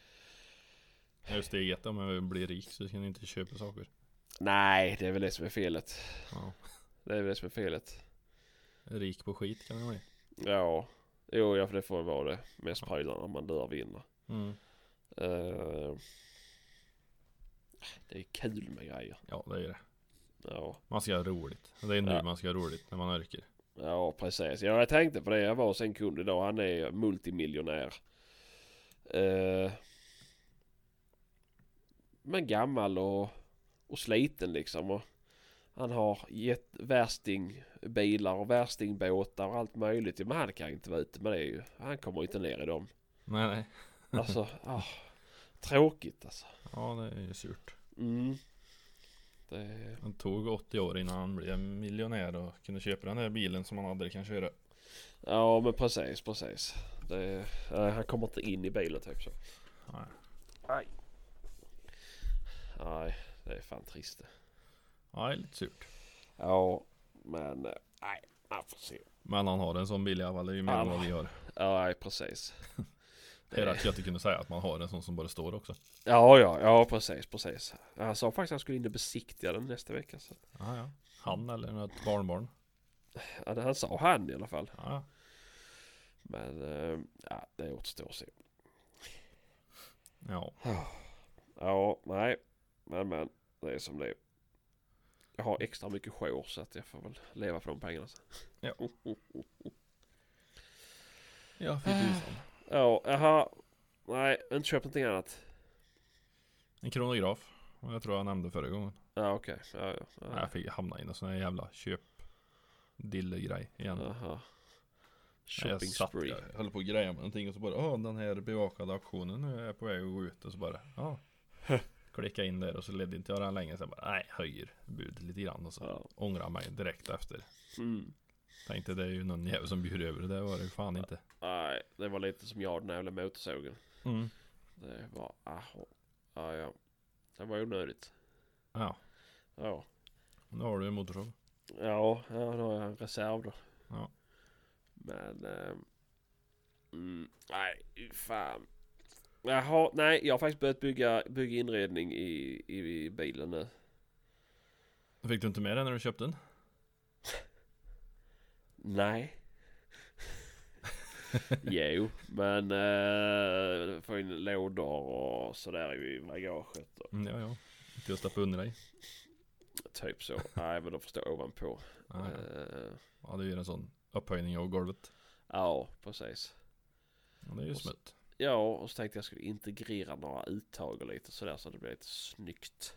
A: Det är ju steg ett om man vill bli rik så ska ni inte köpa saker.
B: Nej, det är väl det som är felet.
A: Ja.
B: Det är väl det som är felet.
A: Rik på skit kan det bli.
B: Ja, jo, ja, för det får ju vara det. Mest prylar när man dör vinner.
A: Mm.
B: Eh, det är kul med grejer.
A: Ja det är det.
B: Ja,
A: Man ska ha roligt. Det är nu
B: Ja.
A: man ska ha roligt när man orkar.
B: ja precis. Ja, jag tänkte på det. Jag var hos en kund idag. Han är multimiljonär. Eh, men gammal och, och sliten liksom. Och han har gett värstingbilar och värstingbåtar och allt möjligt. Men han kan inte vara ute med det ju. Han kommer inte ner i dem.
A: Nej nej.
B: Alltså, ah, tråkigt alltså.
A: Ja det är ju surt.
B: Mm. Det,
A: Han tog 80 år innan han blev miljonär och kunde köpa den där bilen som han aldrig kan köra.
B: ja men precis, precis. Det, nej, han kommer inte in i bilen typ så.
A: Nej.
B: Nej. Nej, det är fan trist det.
A: Ja det är lite surt.
B: Ja, men eh, nej, man får se.
A: Men han har en sån bil i alla fall. Det är ju mer än vad vi har.
B: Ja, nej, precis.
A: Det är rätt gött att kunna säga att man har en sån som bara står också.
B: Ja, ja, ja precis, precis. Han sa faktiskt att han skulle in och besiktiga den nästa vecka. Så. att-
A: Ja, ja. Han eller något barnbarn.
B: Ja, det han sa han i alla fall.
A: Ja, ja.
B: Men eh, ja, det återstår att se.
A: ja.
B: Ja, nej. Men men, det är som det är. Jag har extra mycket jour så att jag får väl leva på de pengarna sen.
A: Ja. Ja, fy tusan.
B: Ja, jaha. Nej, inte köpt någonting annat.
A: En kronograf. Och Jag tror jag nämnde förra gången.
B: Ja, okej. Ja, ja.
A: Nej, Jag fick hamna i någon sån här jävla köp grej igen.
B: Jaha.
A: jag
B: Shopping
A: satt
B: spree.
A: där, höll på att greja med någonting och så bara Åh den här bevakade auktionen nu är jag på väg att gå ut och så bara
B: <laughs>
A: Ja Klicka in där och så ledde inte jag den länge sen bara Nej höjer budet lite grann och så
B: Ja.
A: ångrar mig direkt efter
B: Mm.
A: Tänkte det är ju någon jävel som bjuder över det där var det ju fan inte
B: Nej, det var lite som jag den här jävla motorsågen.
A: mm.
B: Det var, ah, ja, ja. Det var onödigt.
A: Ja
B: Ja.
A: Nu har du en motorsåg
B: Ja, ja då har jag en reserv då.
A: Ja.
B: Men... ehm, mm, nej, fan. Jaha, nej, jag har faktiskt börjat bygga, bygga inredning i, i, i bilen nu.
A: Fick du inte med den när du köpte den? <laughs>
B: Nej. jo, men eh, få in lådor och sådär i bagaget och
A: Mm, ja ja Inte jag stoppa under dig
B: typ så. Nej, men de får stå ovanpå.
A: ah, ja.
B: Eh,
A: ja det är ju en sån upphöjning av golvet
B: ja, precis.
A: ja, Det är ju
B: Och så-
A: smutt
B: Ja, och så tänkte jag skulle integrera några uttag och lite sådär så det blir lite snyggt.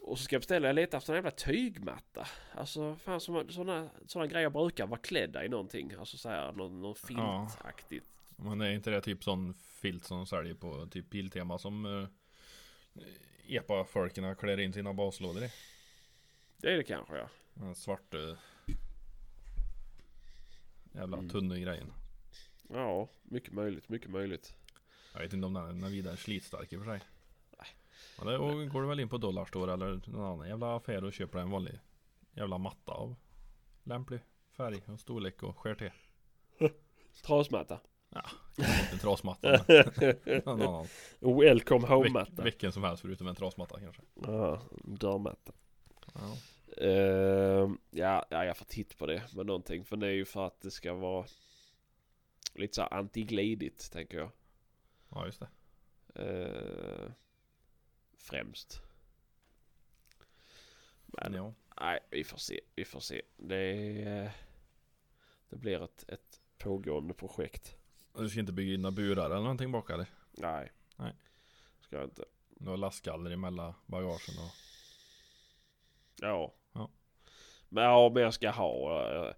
B: Och så ska jag beställa, jag letar efter en jävla tygmatta. Alltså fan sådana, sådana grejer brukar vara klädda i någonting. Alltså såhär någon, någon
A: Ja.
B: filtaktigt.
A: Men är inte det typ sån filt som de säljer på typ Biltema som eh, Epa-folkerna klär in sina baslådor i?
B: Det är det kanske ja.
A: Den svarta jävla
B: Mm.
A: tunna grejen.
B: Ja, mycket möjligt, mycket möjligt.
A: Jag vet inte om den är någon vidare slitstark i och för sig. Men det och går du väl in på Dollarstore eller någon annan jävla affär och köper en vanlig jävla matta av lämplig färg och storlek och skär till.
B: Trasmatta.
A: Inte en trasmatta
B: <laughs>
A: men någon annan.
B: Welcome
A: Vil-
B: home-matta.
A: vilken som helst förutom en trasmatta kanske.
B: Ja, dörrmatta.
A: Ja.
B: Ehm, ja, ja, jag får titt på det med någonting. För det är ju för att det ska vara lite så här antigledigt tänker jag.
A: ja just det.
B: Eh, främst. Men
A: Ja.
B: nej, vi får se. Vi får se. Det, är, eh, det blir ett, ett pågående projekt.
A: Du ska inte bygga in några burar eller någonting bak eller?
B: Nej.
A: Nej.
B: Ska jag inte.
A: Några lastgaller emellan bagagen och...
B: Ja.
A: Ja.
B: Men ja, men jag ska ha. eh,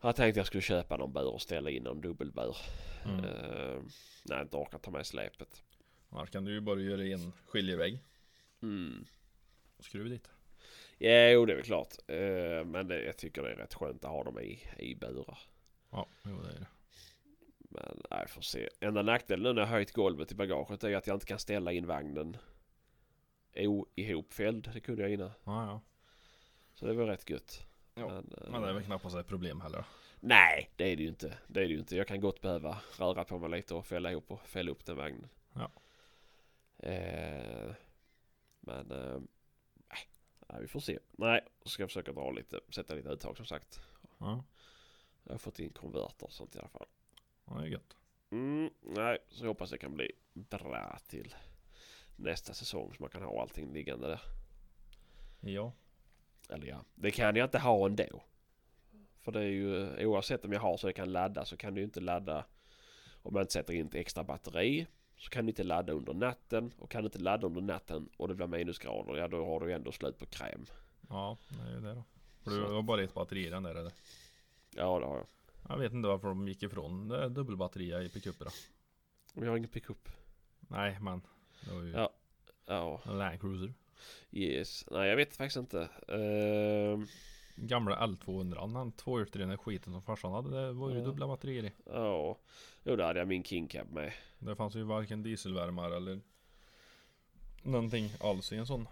B: jag tänkte jag skulle köpa någon bur och ställa in en dubbelbur.
A: Mm.
B: Eh, nej, inte orkar ta med släpet.
A: Annars kan du ju bara göra en skiljevägg
B: Mm.
A: och skruva dit.
B: Ja, jo, det är väl klart. Eh, men det, jag tycker det är rätt skönt att ha dem i, i burar.
A: Ja, jo det är det.
B: Men nej, får se. Enda nackdelen nu när jag höjt golvet i bagaget är ju att jag inte kan ställa in vagnen o- ihopfälld. Det kunde jag innan.
A: Ja, ja.
B: Så det var rätt gött.
A: Ja,
B: eh,
A: Men det är väl knappast ett problem heller.
B: Nej, det är det ju inte. Det är det ju inte. Jag kan gott behöva röra på mig lite och fälla ihop och fälla upp den vagnen.
A: Ja.
B: Eh, men eh, nej, nej, vi får se. Nej, så ska jag försöka dra lite, sätta lite uttag som sagt.
A: Ja,
B: Jag har fått in konverter och sånt i alla fall.
A: ja det är gött.
B: Mm, nej, så jag hoppas det kan bli bra till nästa säsong så man kan ha allting liggande där.
A: Ja.
B: Eller ja, det kan jag inte ha ändå. För det är ju oavsett om jag har så det kan ladda så kan du ju inte ladda om man inte sätter in ett extra batteri. Så kan du inte ladda under natten och kan du inte ladda under natten och det blir minusgrader, ja då har du ju ändå slut på kräm.
A: Ja, det är ju det då. För
B: Så
A: du
B: att-
A: har bara ett batteri i den där eller?
B: Ja det har jag.
A: Jag vet inte varför de gick ifrån det där dubbelbatteria i pickuperna.
B: Men jag har ingen pickup.
A: Nej, men. Det var ju
B: Ja. Ja,
A: en Land Cruiser.
B: yes. Nej jag vet faktiskt inte. Ehm,
A: Gamla L200, den tvåhjulsdrivna skiten som farsan hade, det var ju
B: Ja.
A: dubbla batterier i.
B: Ja, jo där hade jag min King Cab med.
A: Det fanns ju varken dieselvärmare eller någonting alls i en sån.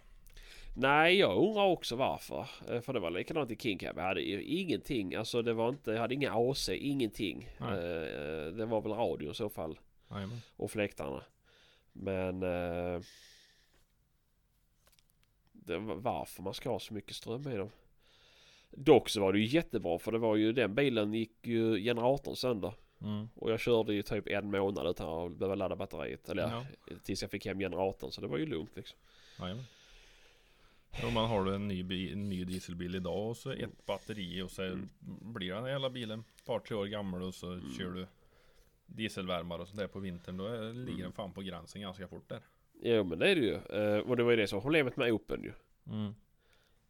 B: Nej, jag undrar också varför. Eh, För det var likadant i King Cab. Jag hade ju ingenting. Alltså det var inte, jag hade inga AC, ingenting.
A: Nej.
B: Eh, Det var väl radio i så fall.
A: Jajamän.
B: Och fläktarna. Men... eh, Det var varför man ska ha så mycket ström i dem. Dock så var det ju jättebra för det var ju den bilen gick ju generatorn sönder.
A: Mm.
B: Och jag körde ju typ en månad utan att behöva ladda batteriet. Eller
A: Ja.
B: tills jag fick hem generatorn. Så det var ju lugnt liksom.
A: Jajamän. Om man har en ny, bi- en ny dieselbil idag och så ett batteri och så
B: Mm.
A: blir den hela bilen ett par tre år gammal och så kör du dieselvärmare och sånt där på vintern. Då är, ligger den fan på gränsen ganska fort där.
B: Jo men det är det ju. Eh, och det var ju det som var problemet med Open ju.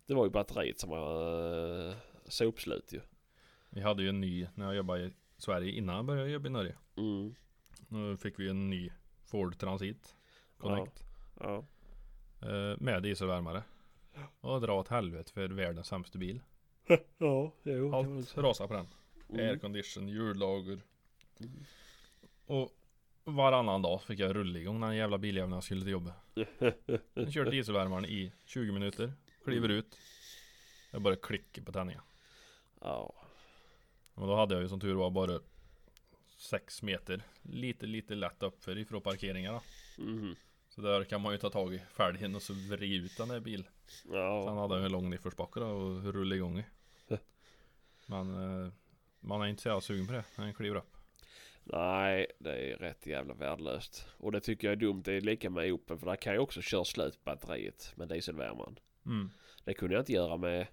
B: Det var ju batteriet som var eh, sopslut ju.
A: Vi hade ju en ny när jag jobbade i Sverige innan jag började jobba i Norge.
B: Mm.
A: Nu fick vi en ny Ford Transit Connect.
B: Ja.
A: eh, Med dieselvärmare. Och dra åt helvete för världens sämsta bil.
B: Ja, jo. Oh, det var
A: Allt rasade på den.
B: Mm.
A: Aircondition, hjullager.
B: Mm.
A: Och varannan dag fick jag rulla igång den jävla biljäveln när jag skulle till
B: <laughs>
A: jobbet. Jag körde dieselvärmaren i 20 minuter. Kliver ut. Jag bara klickar på tändningen.
B: Ja.
A: Och då hade jag ju som tur var bara 6 meter. Lite, lite lätt uppför ifrån parkeringarna.
B: Mm.
A: Så där kan man ju ta tag i fälgen och så vrida ut den där bilen. Sen
B: Ja.
A: hade han ju en lång nedförsbacke då och rullade igång <laughs> i. Men eh, man är inte så jävla sugen på det när den kliver upp.
B: Nej, det är rätt jävla värdelöst. Och det tycker jag är dumt. Det är lika med Opel för där kan jag också köra slut batteriet med dieselvärmaren.
A: Mm.
B: Det kunde jag inte göra med,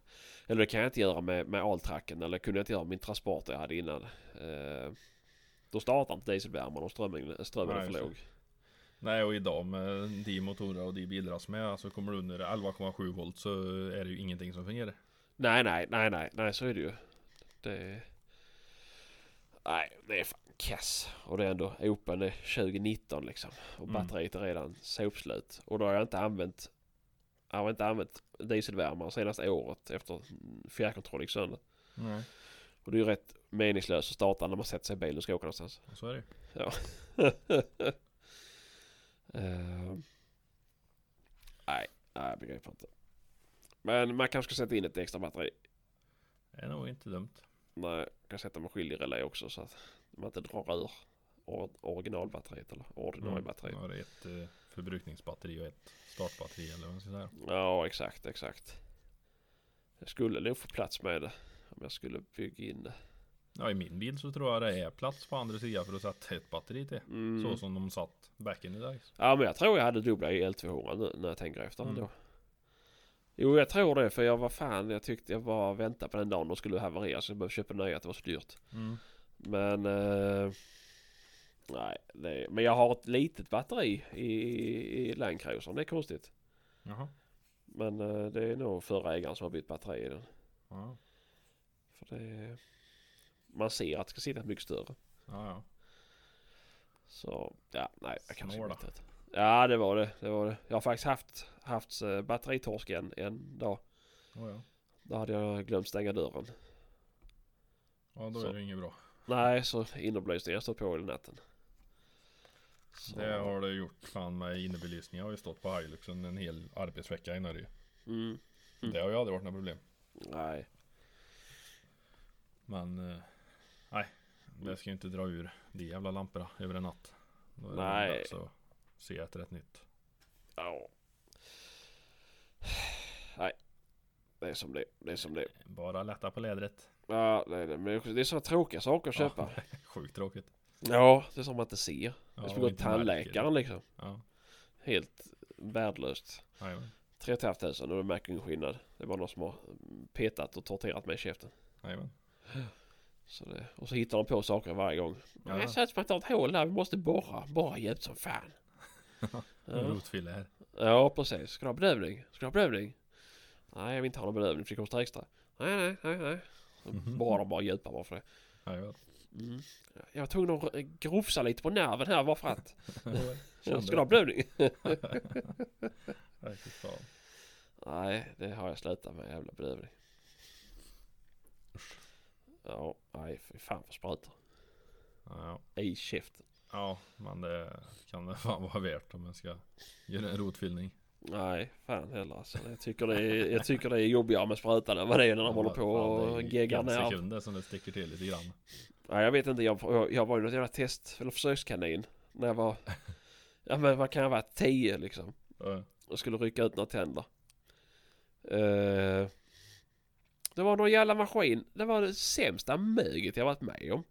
B: eller det kan jag inte göra med, med alltracken eller kunde jag inte göra med min transporter jag hade innan. Eh, då startar inte dieselvärmaren om strömmen, strömmen är
A: Nej,
B: för
A: just
B: låg.
A: Nej och idag med de motorer och de bilar som är alltså kommer du under 11,7 volt så är det ju ingenting som fungerar.
B: Nej, nej, nej, nej, nej, så är det ju. Det... Nej, det är fan kass. Och det är ändå Open är 2019 liksom. Och
A: Mm.
B: batteriet är redan sopslut. Och då har jag inte använt jag har inte använt dieselvärmare senaste året efter fjärrkontroll gick sönder.
A: Nej.
B: Och det är ju rätt meningslöst att starta när man sätter sig i bilen och ska åka någonstans. <laughs>
A: Och så är det
B: Ehm. nej, nej, jag begriper inte. Men man kanske ska sätta in ett extra batteri.
A: Det är nog inte dumt.
B: Nej, jag kan sätta med skiljerelä också så att man inte drar ur or- originalbatteriet eller
A: Mm,
B: ordinariebatteriet.
A: Man har ett eh, förbrukningsbatteri och ett startbatteri eller vad man ska säga.
B: Ja, exakt, exakt. Jag skulle nog få plats med det om jag skulle bygga in det.
A: Ja i min bil så tror jag det är plats på andra sidan för att sätta ett batteri till.
B: Mm.
A: Så som de satt back in the days.
B: Ja men jag tror jag hade dubbla i L200 nu när jag tänker efter
A: Mm.
B: ändå. Jo jag tror det för jag var fan jag tyckte jag bara väntade på den dagen de skulle haverera så jag behövde köpa nya att det var så dyrt.
A: Mm.
B: Men eh, nej det, men jag har ett litet batteri i, i Land Cruiser. det är konstigt.
A: Jaha.
B: Men eh, det är nog förra ägaren som har bytt batteri i den.
A: Ja.
B: För det, man ser att det ska sitta mycket större.
A: Ja, ja.
B: Så ja, nej jag kanske
A: Snåla.
B: inte vet. Ja det var det, det var det. Jag har faktiskt haft, haft eh, batteritorsk en, en dag.
A: Oh, ja.
B: Då hade jag glömt stänga dörren.
A: ja då
B: Så.
A: är det inget bra.
B: Nej, så innerbelysningen står på hela natten. Så.
A: Det har det gjort fan med innebelysning. Jag har ju stått på Hiluxen en hel arbetsvecka i Norge.
B: Mm. Mm.
A: Det har ju aldrig varit några problem.
B: Nej.
A: Men eh, nej, det ska ju inte dra ur de jävla lamporna över en natt. Då är det
B: Nej.
A: dags att se ett rätt nytt.
B: Ja. Nej. Det är som det är. Det är som det är.
A: Bara lätta på lädret.
B: Ja, det är det. Men det är sådana tråkiga saker att
A: Ja. <laughs>
B: köpa. Ja,
A: Sjukt tråkigt.
B: det är som man inte ser.
A: Ja,
B: jag
A: och
B: skulle gå till
A: inte märker det.
B: tandläkaren liksom.
A: Ja,
B: Helt värdelöst.
A: jajamän.
B: 3 500 och jag märker ingen skillnad. Det var någon som har petat och torterat mig i käften.
A: Jajamän.
B: Så det, och så hittar de på saker varje gång.
A: Ja.
B: Det ser ut som att det är ett hål där, vi måste borra. Borra djupt
A: <laughs>
B: som fan.
A: En
B: ja.
A: rotfylla här.
B: ja, precis. Ska du ha bedövning? Ska du ha bedövning? Nej, jag vill inte ha någon bedövning för det kostar extra. Nej, nej, nej, nej. Så
A: Mhm.
B: Borrar de bara djupare bara för det.
A: Jajamän.
B: Mm. Jag var tvungen att r- grofsa lite på nerven här bara
A: <laughs>
B: för att.
A: Kände
B: Ska du ha bedövning?
A: Nej, fy fan.
B: nej, det har jag slutat med. Jävla bedövning. Ja, nej, fy fan för sprutor.
A: Ja,
B: I käften.
A: ja, men det kan det <laughs> fan vara värt om man ska göra en rotfyllning.
B: Nej, fan heller alltså. Jag tycker det är, jag tycker det är jobbigare med sprutan än vad det är när de håller på och geggar
A: ner.
B: ner.
A: sekunder som det sticker till lite grann.
B: Nej, jag vet inte. Jag, jag, jag var ju något jävla test eller försökskanin. När jag var, ja men vad kan jag vara, 10 liksom.
A: Ja.
B: Och skulle rycka ut några tänder. Eh, det var någon jävla maskin. Det var det sämsta möget jag varit med om.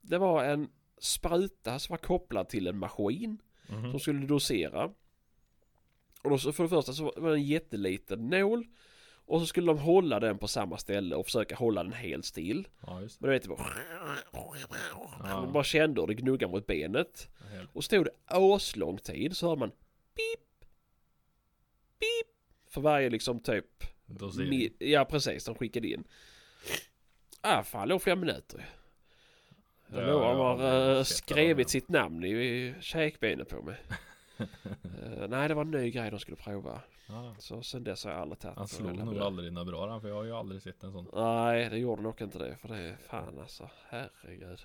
B: Det var en spruta som var kopplad till en maskin.
A: Mhm.
B: som skulle dosera. Och då, så- för det första så var det en jätteliten nål. Och så skulle de hålla den på samma ställe och försöka hålla den helt still.
A: Ja, just det.
B: Men du vet, det bara...
A: Ja.
B: Man bara kände hur det gnuggade mot benet.
A: Helt-
B: Och stod det aslång tid så hörde man pip, pip. För varje liksom typ...
A: Då ser vi.
B: mi- ja, precis. De skickade in. ah, fan låg flera minuter.
A: Ja,
B: Jag lovar, han
A: jag har
B: har eh,
A: sett
B: skrivit
A: det.
B: sitt namn i, i käkbenet
A: <laughs>
B: på mig. Eh, nej, det var en ny grej de skulle prova.
A: Ja.
B: Så sen dess har jag aldrig tagit
A: Han
B: så
A: slog
B: hela
A: nog
B: med det.
A: aldrig dina bra han, för jag har ju aldrig sett en sån.
B: Nej, det gjorde nog inte det. För det är fan alltså, herregud.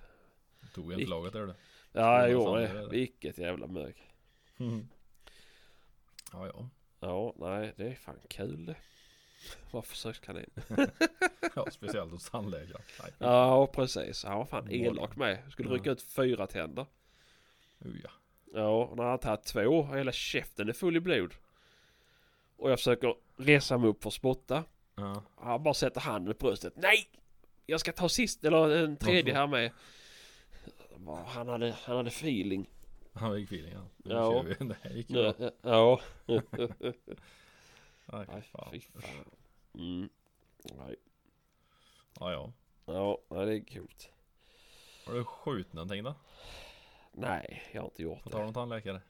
A: Tog inte
B: Ick.
A: laget där du.
B: Ja, jag
A: det
B: gjorde
A: sant, det är
B: det.
A: det.
B: Vilket jävla mög. Mm-hmm.
A: Ja, ja.
B: Ja, nej, det är fan kul <laughs> det. Var försökskanin.
A: ja, speciellt hos tandläkaren. Nej.
B: Ja, precis. Han var fan
A: Målen.
B: elak med. Skulle rycka
A: Ja.
B: ut fyra tänder.
A: Uh, ja.
B: Ja, och när han har tagit två och hela käften är full i blod. Och jag försöker resa mig upp för att spotta.
A: Ja.
B: Han bara sätter handen på bröstet. Nej! Jag ska ta sist, eller en tredje här med. Bara, Han hade, han hade feeling.
A: Han gick feeling ja. Nu
B: Ja.
A: kör vi. <laughs> Det här gick ju
B: Ja.
A: bra.
B: <laughs> ja.
A: Nej, fy
B: Nej,
A: fan.
B: fy fan. Mm. Nej.
A: Ja, ja.
B: Ja, nej, det är coolt.
A: Har du skjutit någonting då?
B: Nej, jag har inte gjort
A: På tal
B: det.
A: om tandläkare?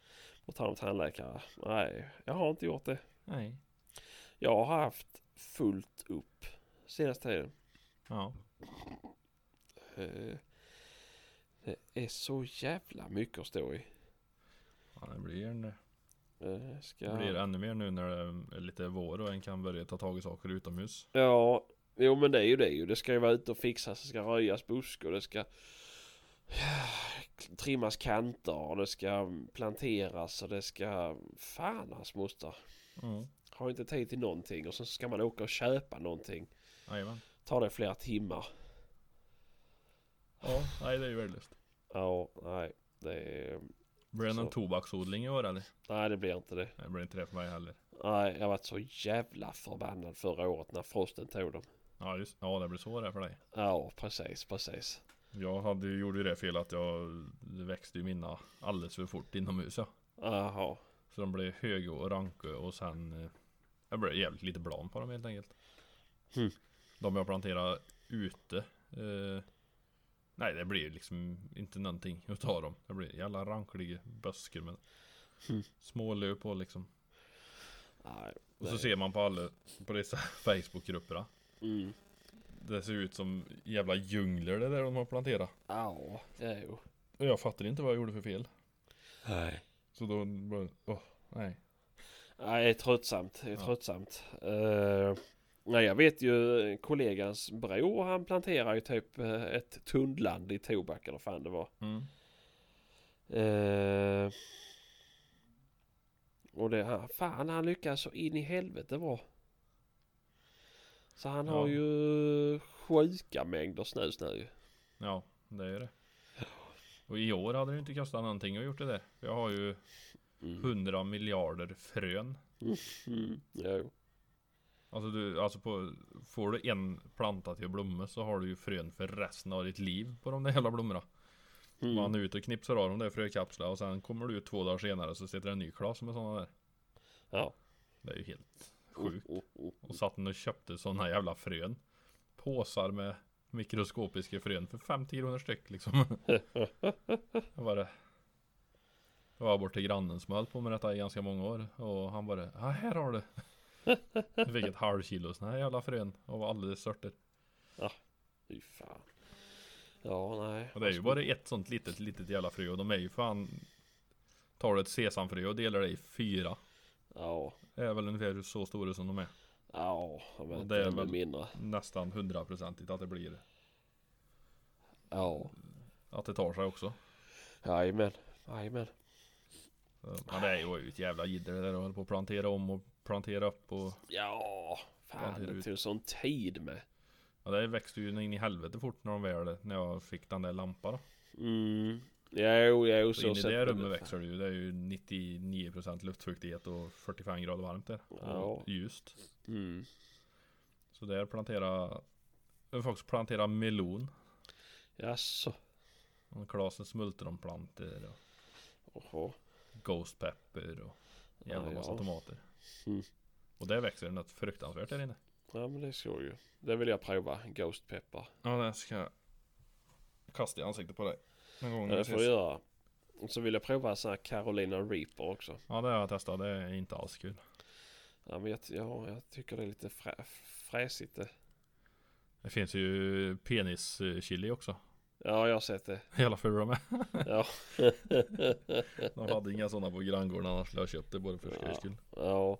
B: På tal om tandläkare. Nej, jag har inte gjort det.
A: Nej.
B: Jag har haft fullt upp senaste tiden.
A: Ja.
B: Eh, Det är så jävla mycket att stå i.
A: ja det blir, en,
B: Eh, Ska...
A: det blir ännu mer nu när det är lite vår och en kan börja ta tag i saker utomhus.
B: Ja, jo men det är ju det ju. Det ska ju vara ute och fixas, det ska röjas buskar, det ska <sighs> trimmas kanter och det ska planteras och det ska... Fan hans moster.
A: Mm.
B: Har inte tid till någonting och sen ska man åka och köpa någonting.
A: Jajamän.
B: Tar det flera timmar.
A: Ja, nej det är ju värdelöst.
B: Ja, nej. Det är...
A: Blir det någon
B: Så.
A: tobaksodling i år eller?
B: Nej det blir inte det.
A: Nej, det blir inte det för mig heller.
B: Nej, jag varit så jävla förbannad förra året när frosten tog dem.
A: Ja, just, ja det blir så det för dig.
B: Ja, precis, precis.
A: Jag hade, ju- gjorde ju det fel att jag det växte ju mina alldeles för fort inomhus ja.
B: Jaha.
A: Så de blev höga och ranka och sen eh, Jag blev jävligt lite blam på dem helt enkelt
B: Hmm.
A: De jag planterade ute eh, Nej det blev liksom inte någonting utav dem Det blev jävla rankliga buskar med
B: Hmm.
A: små löv på liksom
B: Nej.
A: Och
B: det-
A: så ser man på alla På dessa <laughs> Facebookgrupperna
B: Mm.
A: Det ser ut som jävla djungler det där de har planterat
B: Ja, jo.
A: Och jag fattar inte vad jag gjorde för fel
B: Nej.
A: Så då bara, åh, nej
B: Nej, det är tröttsamt. Det är
A: Ja.
B: tröttsamt. Eh, nej, jag vet ju kollegans bror, han planterar ju typ eh, ett tundland i tobak eller vad fan det var.
A: mm.
B: Eh, och det, han- fan han lyckas så in i helvete bra. Så han har
A: Ja.
B: ju sjuka mängder snus nu.
A: Ja, det är det. Och i år hade det inte kostat någonting att gjort det där. Jag har ju
B: Mm.
A: 100 miljarder frön.
B: Mm. Jo.
A: Alltså, du, alltså på, får du en planta till att blomma så har du ju frön för resten av ditt liv på de där jävla blommorna.
B: Mm.
A: Man är ute och knipsar av de där frökapslarna och sen kommer du ut två dagar senare så sitter det en ny klass med sådana där.
B: Ja.
A: Det är ju helt sjukt.
B: Oh, oh, oh.
A: Och satt och köpte sådana jävla frön. Påsar med mikroskopiska frön för 50 kronor styck liksom. Jag bara Jag var bort till grannen som höll på med detta i ganska många år och han bara ah, här har du Jag fick ett halvkilo såna här jävla frön och var alldeles störter
B: Fy fan. Ja, nej.
A: Och det är ju bara ett sånt litet litet jävla frö och de är ju fan Tar du ett sesamfrö och delar det i fyra
B: Ja.
A: Det är väl ungefär så stora som de är
B: Ja, jag vet
A: Och
B: inte.
A: det är
B: Det är
A: väl-
B: mindre.
A: Nästan hundraprocentigt att det blir
B: Ja.
A: Att det tar sig också
B: Jajamän. Jajamän.
A: Så, Men det är ju ett jävla jidder det där och håller på att plantera om och plantera upp och
B: Ja. Fan,
A: det är
B: det
A: ut.
B: tog sån tid med.
A: Ja det växte ju in i helvete fort när de väl När jag fick den där lampan då
B: Mm. Jo, jo, så
A: Så in i
B: sett
A: det
B: var
A: rummet
B: fan.
A: växer det ju. Det är ju 99% luftfuktighet och 45 grader varmt där.
B: Ja.
A: Och ljust.
B: Mm.
A: Så där plantera jag får också plantera melon.
B: Jaså?
A: Och Klasen smultronplantor och
B: Jaha.
A: ghost pepper och jävla
B: Ja,
A: massa
B: ja.
A: tomater.
B: Mm.
A: Och där växer det något fruktansvärt där inne.
B: Ja men det såg ju. Det vill jag prova. Ghost pepper.
A: Ja det ska jag kasta i ansiktet på dig. Någon gång
B: Ja, det får jag göra. Och så vill jag prova så här Carolina Reaper också.
A: Ja det har jag testat. Det är inte alls kul.
B: Ja men jag, ja, jag tycker det är lite frä, fräsigt det.
A: Det finns ju penis-chili också. <laughs>
B: Ja, jag har sett det.
A: Hela fula med.
B: Ja.
A: De hade inga sådana på granngården annars skulle jag köpt det bara för skojs skull.
B: ja.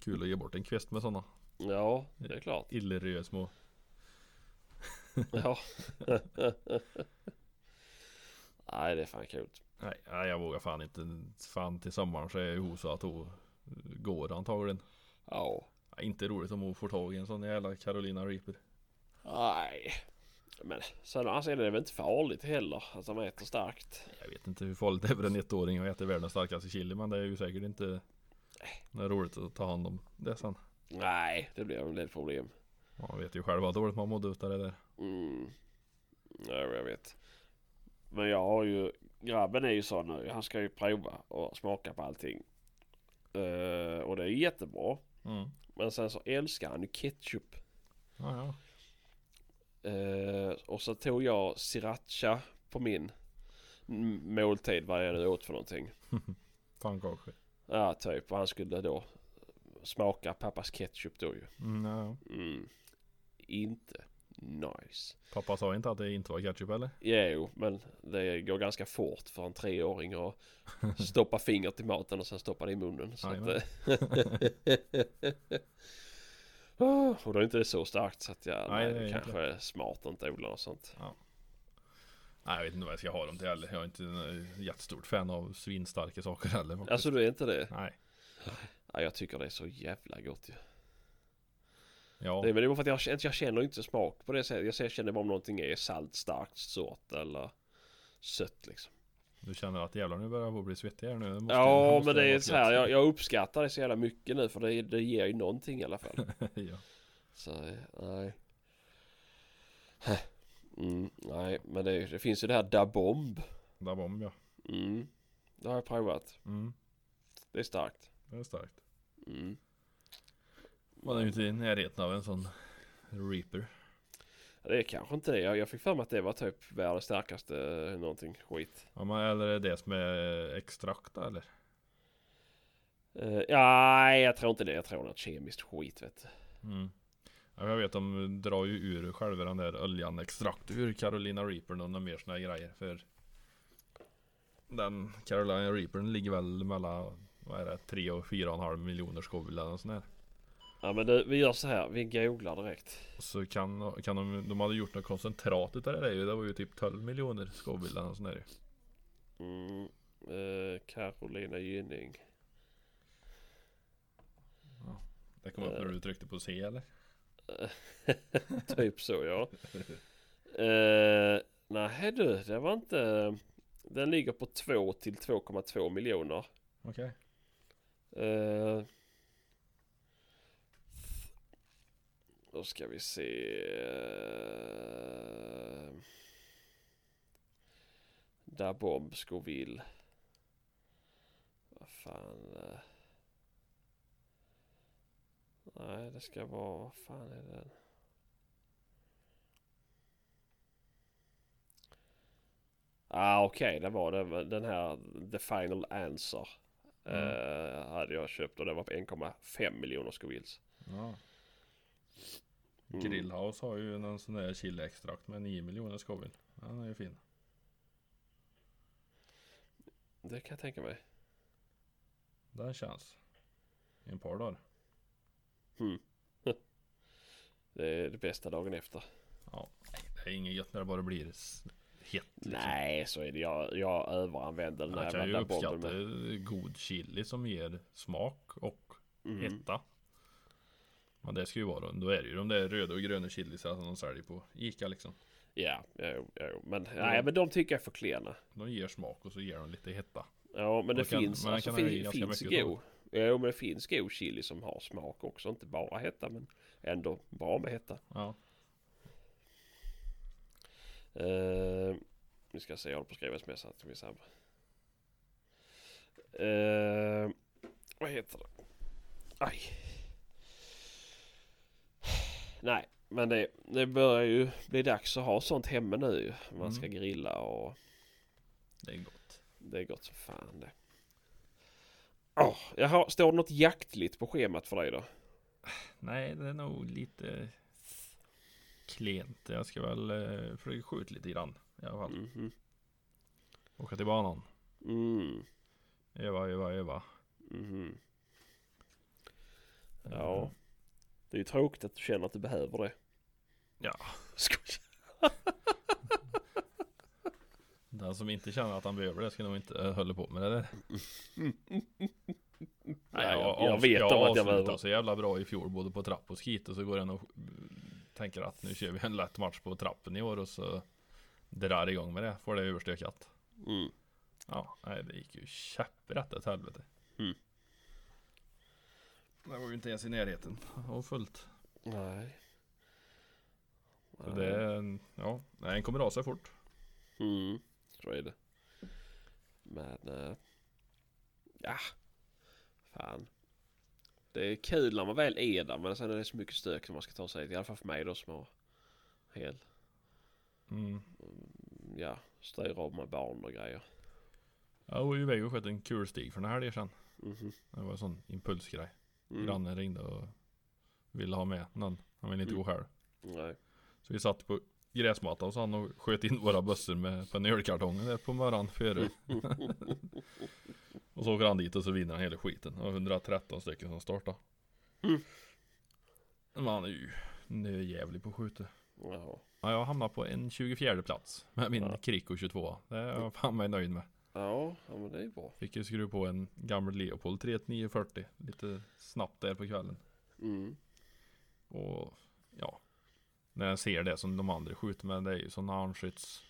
A: Kul att ge bort en kvist med sådana.
B: Ja, det är klart.
A: Illeröda små.
B: Ja. Nej, det är fan kul.
A: Nej, nej, jag vågar fan inte. Fan till sommaren så är hon så att hon går antagligen.
B: Ja.
A: Ja, Inte roligt om hon får tag i en sån jävla Carolina Reaper.
B: Nej. Men sen å andra sidan är det väl inte farligt heller att de äter starkt.
A: Jag vet inte hur farligt det är för en ettåring att äta världens starkaste chili men det är ju säkert inte något roligt att ta hand om det sen.
B: Nej, det blir väl ett problem.
A: Man vet ju själv vad dåligt man mådde utav det där.
B: Mm. Ja, jag vet. Men jag har ju... Grabben är ju sån nu. Han ska ju prova och smaka på allting. Eh, och det är jättebra.
A: Mm.
B: Men sen så älskar han ju ketchup.
A: Ja, ja.
B: Eh, och så tog jag sriracha på min m- måltid. Vad jag nu åt för någonting.
A: Pannkakor.
B: Ja, typ. Och han skulle då smaka pappas ketchup då ju.
A: Mm, ja, ja.
B: Mm. Inte nice.
A: Pappa sa inte att det inte var ketchup eller?
B: Jo, men det går ganska fort för en treåring att stoppa fingret i maten och sen stoppa det i munnen. Så att,
A: Jajamän.
B: eh, <laughs> Ah, och då är inte det så starkt så att jag
A: Nej,
B: nej,
A: det är
B: det
A: inte.
B: kanske är smart att inte odla något sånt.
A: Nej, jag vet inte vad jag ska ha dem till heller. Jag är inte en eh, jättestort fan av svinstarka saker heller. faktiskt.
B: Alltså du är inte det?
A: Nej.
B: Ja, jag tycker det är så jävla gott ju.
A: Ja.
B: Det är väl bara för att jag, känner- jag känner inte smak på det sättet. Jag ser- jag känner bara om någonting är salt, starkt, surt eller sött liksom.
A: Du känner att jävlar nu börjar jag bli svettig här nu. Det måste-
B: Ja,
A: måste
B: men det
A: vara
B: är
A: något
B: så här.
A: gött.
B: Jag, jag uppskattar det så jävla mycket nu för det, det ger ju någonting i alla fall.
A: <laughs> ja.
B: Så nej. Heh. Mm, nej, men det, det finns ju det här Da Bomb.
A: Där bomb ja.
B: Mm. Det har jag provat.
A: Mm.
B: Det är starkt.
A: Det är starkt.
B: Mm.
A: Man är ju inte i närheten av en sån reaper.
B: Det är kanske inte det. Jag, jag fick för mig att det var typ världens starkaste eh, någonting skit.
A: Ja, men, eller är det som är extrakt eller?
B: Eh, nej, jag tror inte det. Jag tror något kemiskt skit vet du.
A: Mm. Ja, jag vet de drar ju ur själva den där oljan extrakt ur Carolina Reapern och några mer såna här grejer. För den Carolina Reapern ligger väl mellan vad är det, 3 och 4,5 miljoner skovel eller något sånt där.
B: Ja, men du, vi gör så här. Vi googlar direkt.
A: Så kan, kan de, de hade gjort något koncentrat utav det där ju. Det var ju typ 12 miljoner skovel eller något sånt där ju.
B: Mm. Eh, Carolina Gynning.
A: Det kom upp när du tryckte på C eller?
B: <laughs> Typ så ja. uh, nej du, det var inte... Den ligger på 2 till 2,2 miljoner.
A: Okej.
B: Eh, då ska vi se. eh, Da Bomb Scoville. Vad fan. eh. Nej, det ska vara. Vad fan är den? Ah, okej, det var det. Den här The Final Answer.
A: Mm.
B: eh, hade jag köpt och den var på 1,5 miljoner Scovilles.
A: Ja.
B: Mm.
A: Grillhouse har ju någon sån där chiliextrakt med 9 miljoner skovel. Den är ju fin.
B: Det kan jag tänka mig.
A: Den känns. I en par dagar.
B: Det är det bästa dagen efter.
A: Det är inget gött när det bara blir s- hett. liksom.
B: Nej, så är det. Jag, jag överanvänder den
A: Man
B: här
A: kan ju
B: jävla bomben.
A: uppskatta
B: Med.
A: god chili som ger smak och
B: Mm.
A: hetta. Men det ska ju vara då är det ju de där röda och gröna chilisarna som de säljer på Ica liksom.
B: Ja, jo, jo. Men, nej, men de tycker jag är för klena.
A: De ger smak och så ger de lite hetta.
B: Ja, men det
A: Man kan-
B: finns,
A: man
B: alltså,
A: kan ha i
B: fin,
A: ganska
B: finns
A: mycket
B: go. Jo, men det finns go chili som har smak också. Inte bara hetta, men ändå bra med hetta.
A: Ja.
B: Eh, vi ska se, jag håller på att skriva sms här till min sambo. Eh, vad heter det? Aj. Nej, men det, det börjar ju bli dags att ha sånt hemma nu ju. Man
A: Mm.
B: ska grilla och
A: Det är gott.
B: det är gott som fan det. Oh, jaha, står det något jaktligt på schemat för dig då?
A: Nej det är nog lite klent. Jag ska väl eh, försöka skjuta lite grann i alla fall.
B: Mhm.
A: Åka till banan.
B: Mm.
A: Öva, öva, öva.
B: Mhm. Ja. Det är ju tråkigt att du känner att du behöver det.
A: Ja.
B: Skoj.
A: Den som inte känner att han behöver det ska nog inte eh, hålla på med det där.
B: Nej, jag, jag vet
A: jag alltså.
B: om att jag
A: avslutade
B: behöver.
A: så jävla bra i fjol både på trapp och skit och så går den och tänker att nu kör vi en lätt match på trappen i år och så drar igång med det. Får det överstökat.
B: Mm.
A: Ja, nej det gick ju käpprätt åt helvete.
B: Mm.
A: Det var ju inte ens i närheten och fullt.
B: Nej.
A: Så det är en, ja, nej, den kommer av sig fort.
B: Mm, så är det. Men... eh, ja. Fan. Det är kul när man väl är där men sen är det så mycket stök som man ska ta sig till. I alla fall för mig då som har hel,
A: Mm.
B: ja, styr av med barn och grejer.
A: Jag var ju iväg och sköt en kulstig för den här helgen sedan.
B: Mhm.
A: Det var en sån impulsgrej.
B: Mm.
A: Grannen ringde och ville ha med någon. Han ville inte
B: Mm.
A: gå själv.
B: Nej.
A: Så vi satt på gräsmattan hos han och sköt in våra bössor med, på en ölkartong där på morgonen före. och så åker han dit och så vinner han hela skiten. Och 113 stycken som startar.
B: Mm.
A: Men han är ju nöjävlig på att skjuta.
B: Jaha.
A: Ja, jag hamnar på en 24 plats med min
B: Ja.
A: Kriko 22. Det är jag fan mig nöjd med.
B: Ja, ja men det är bra.
A: Fick ju skruva på en gammal Leopold 3940 lite snabbt där på kvällen.
B: Mm.
A: Och ja, när jag ser det som de andra skjuter med, det är ju sådana armskytts.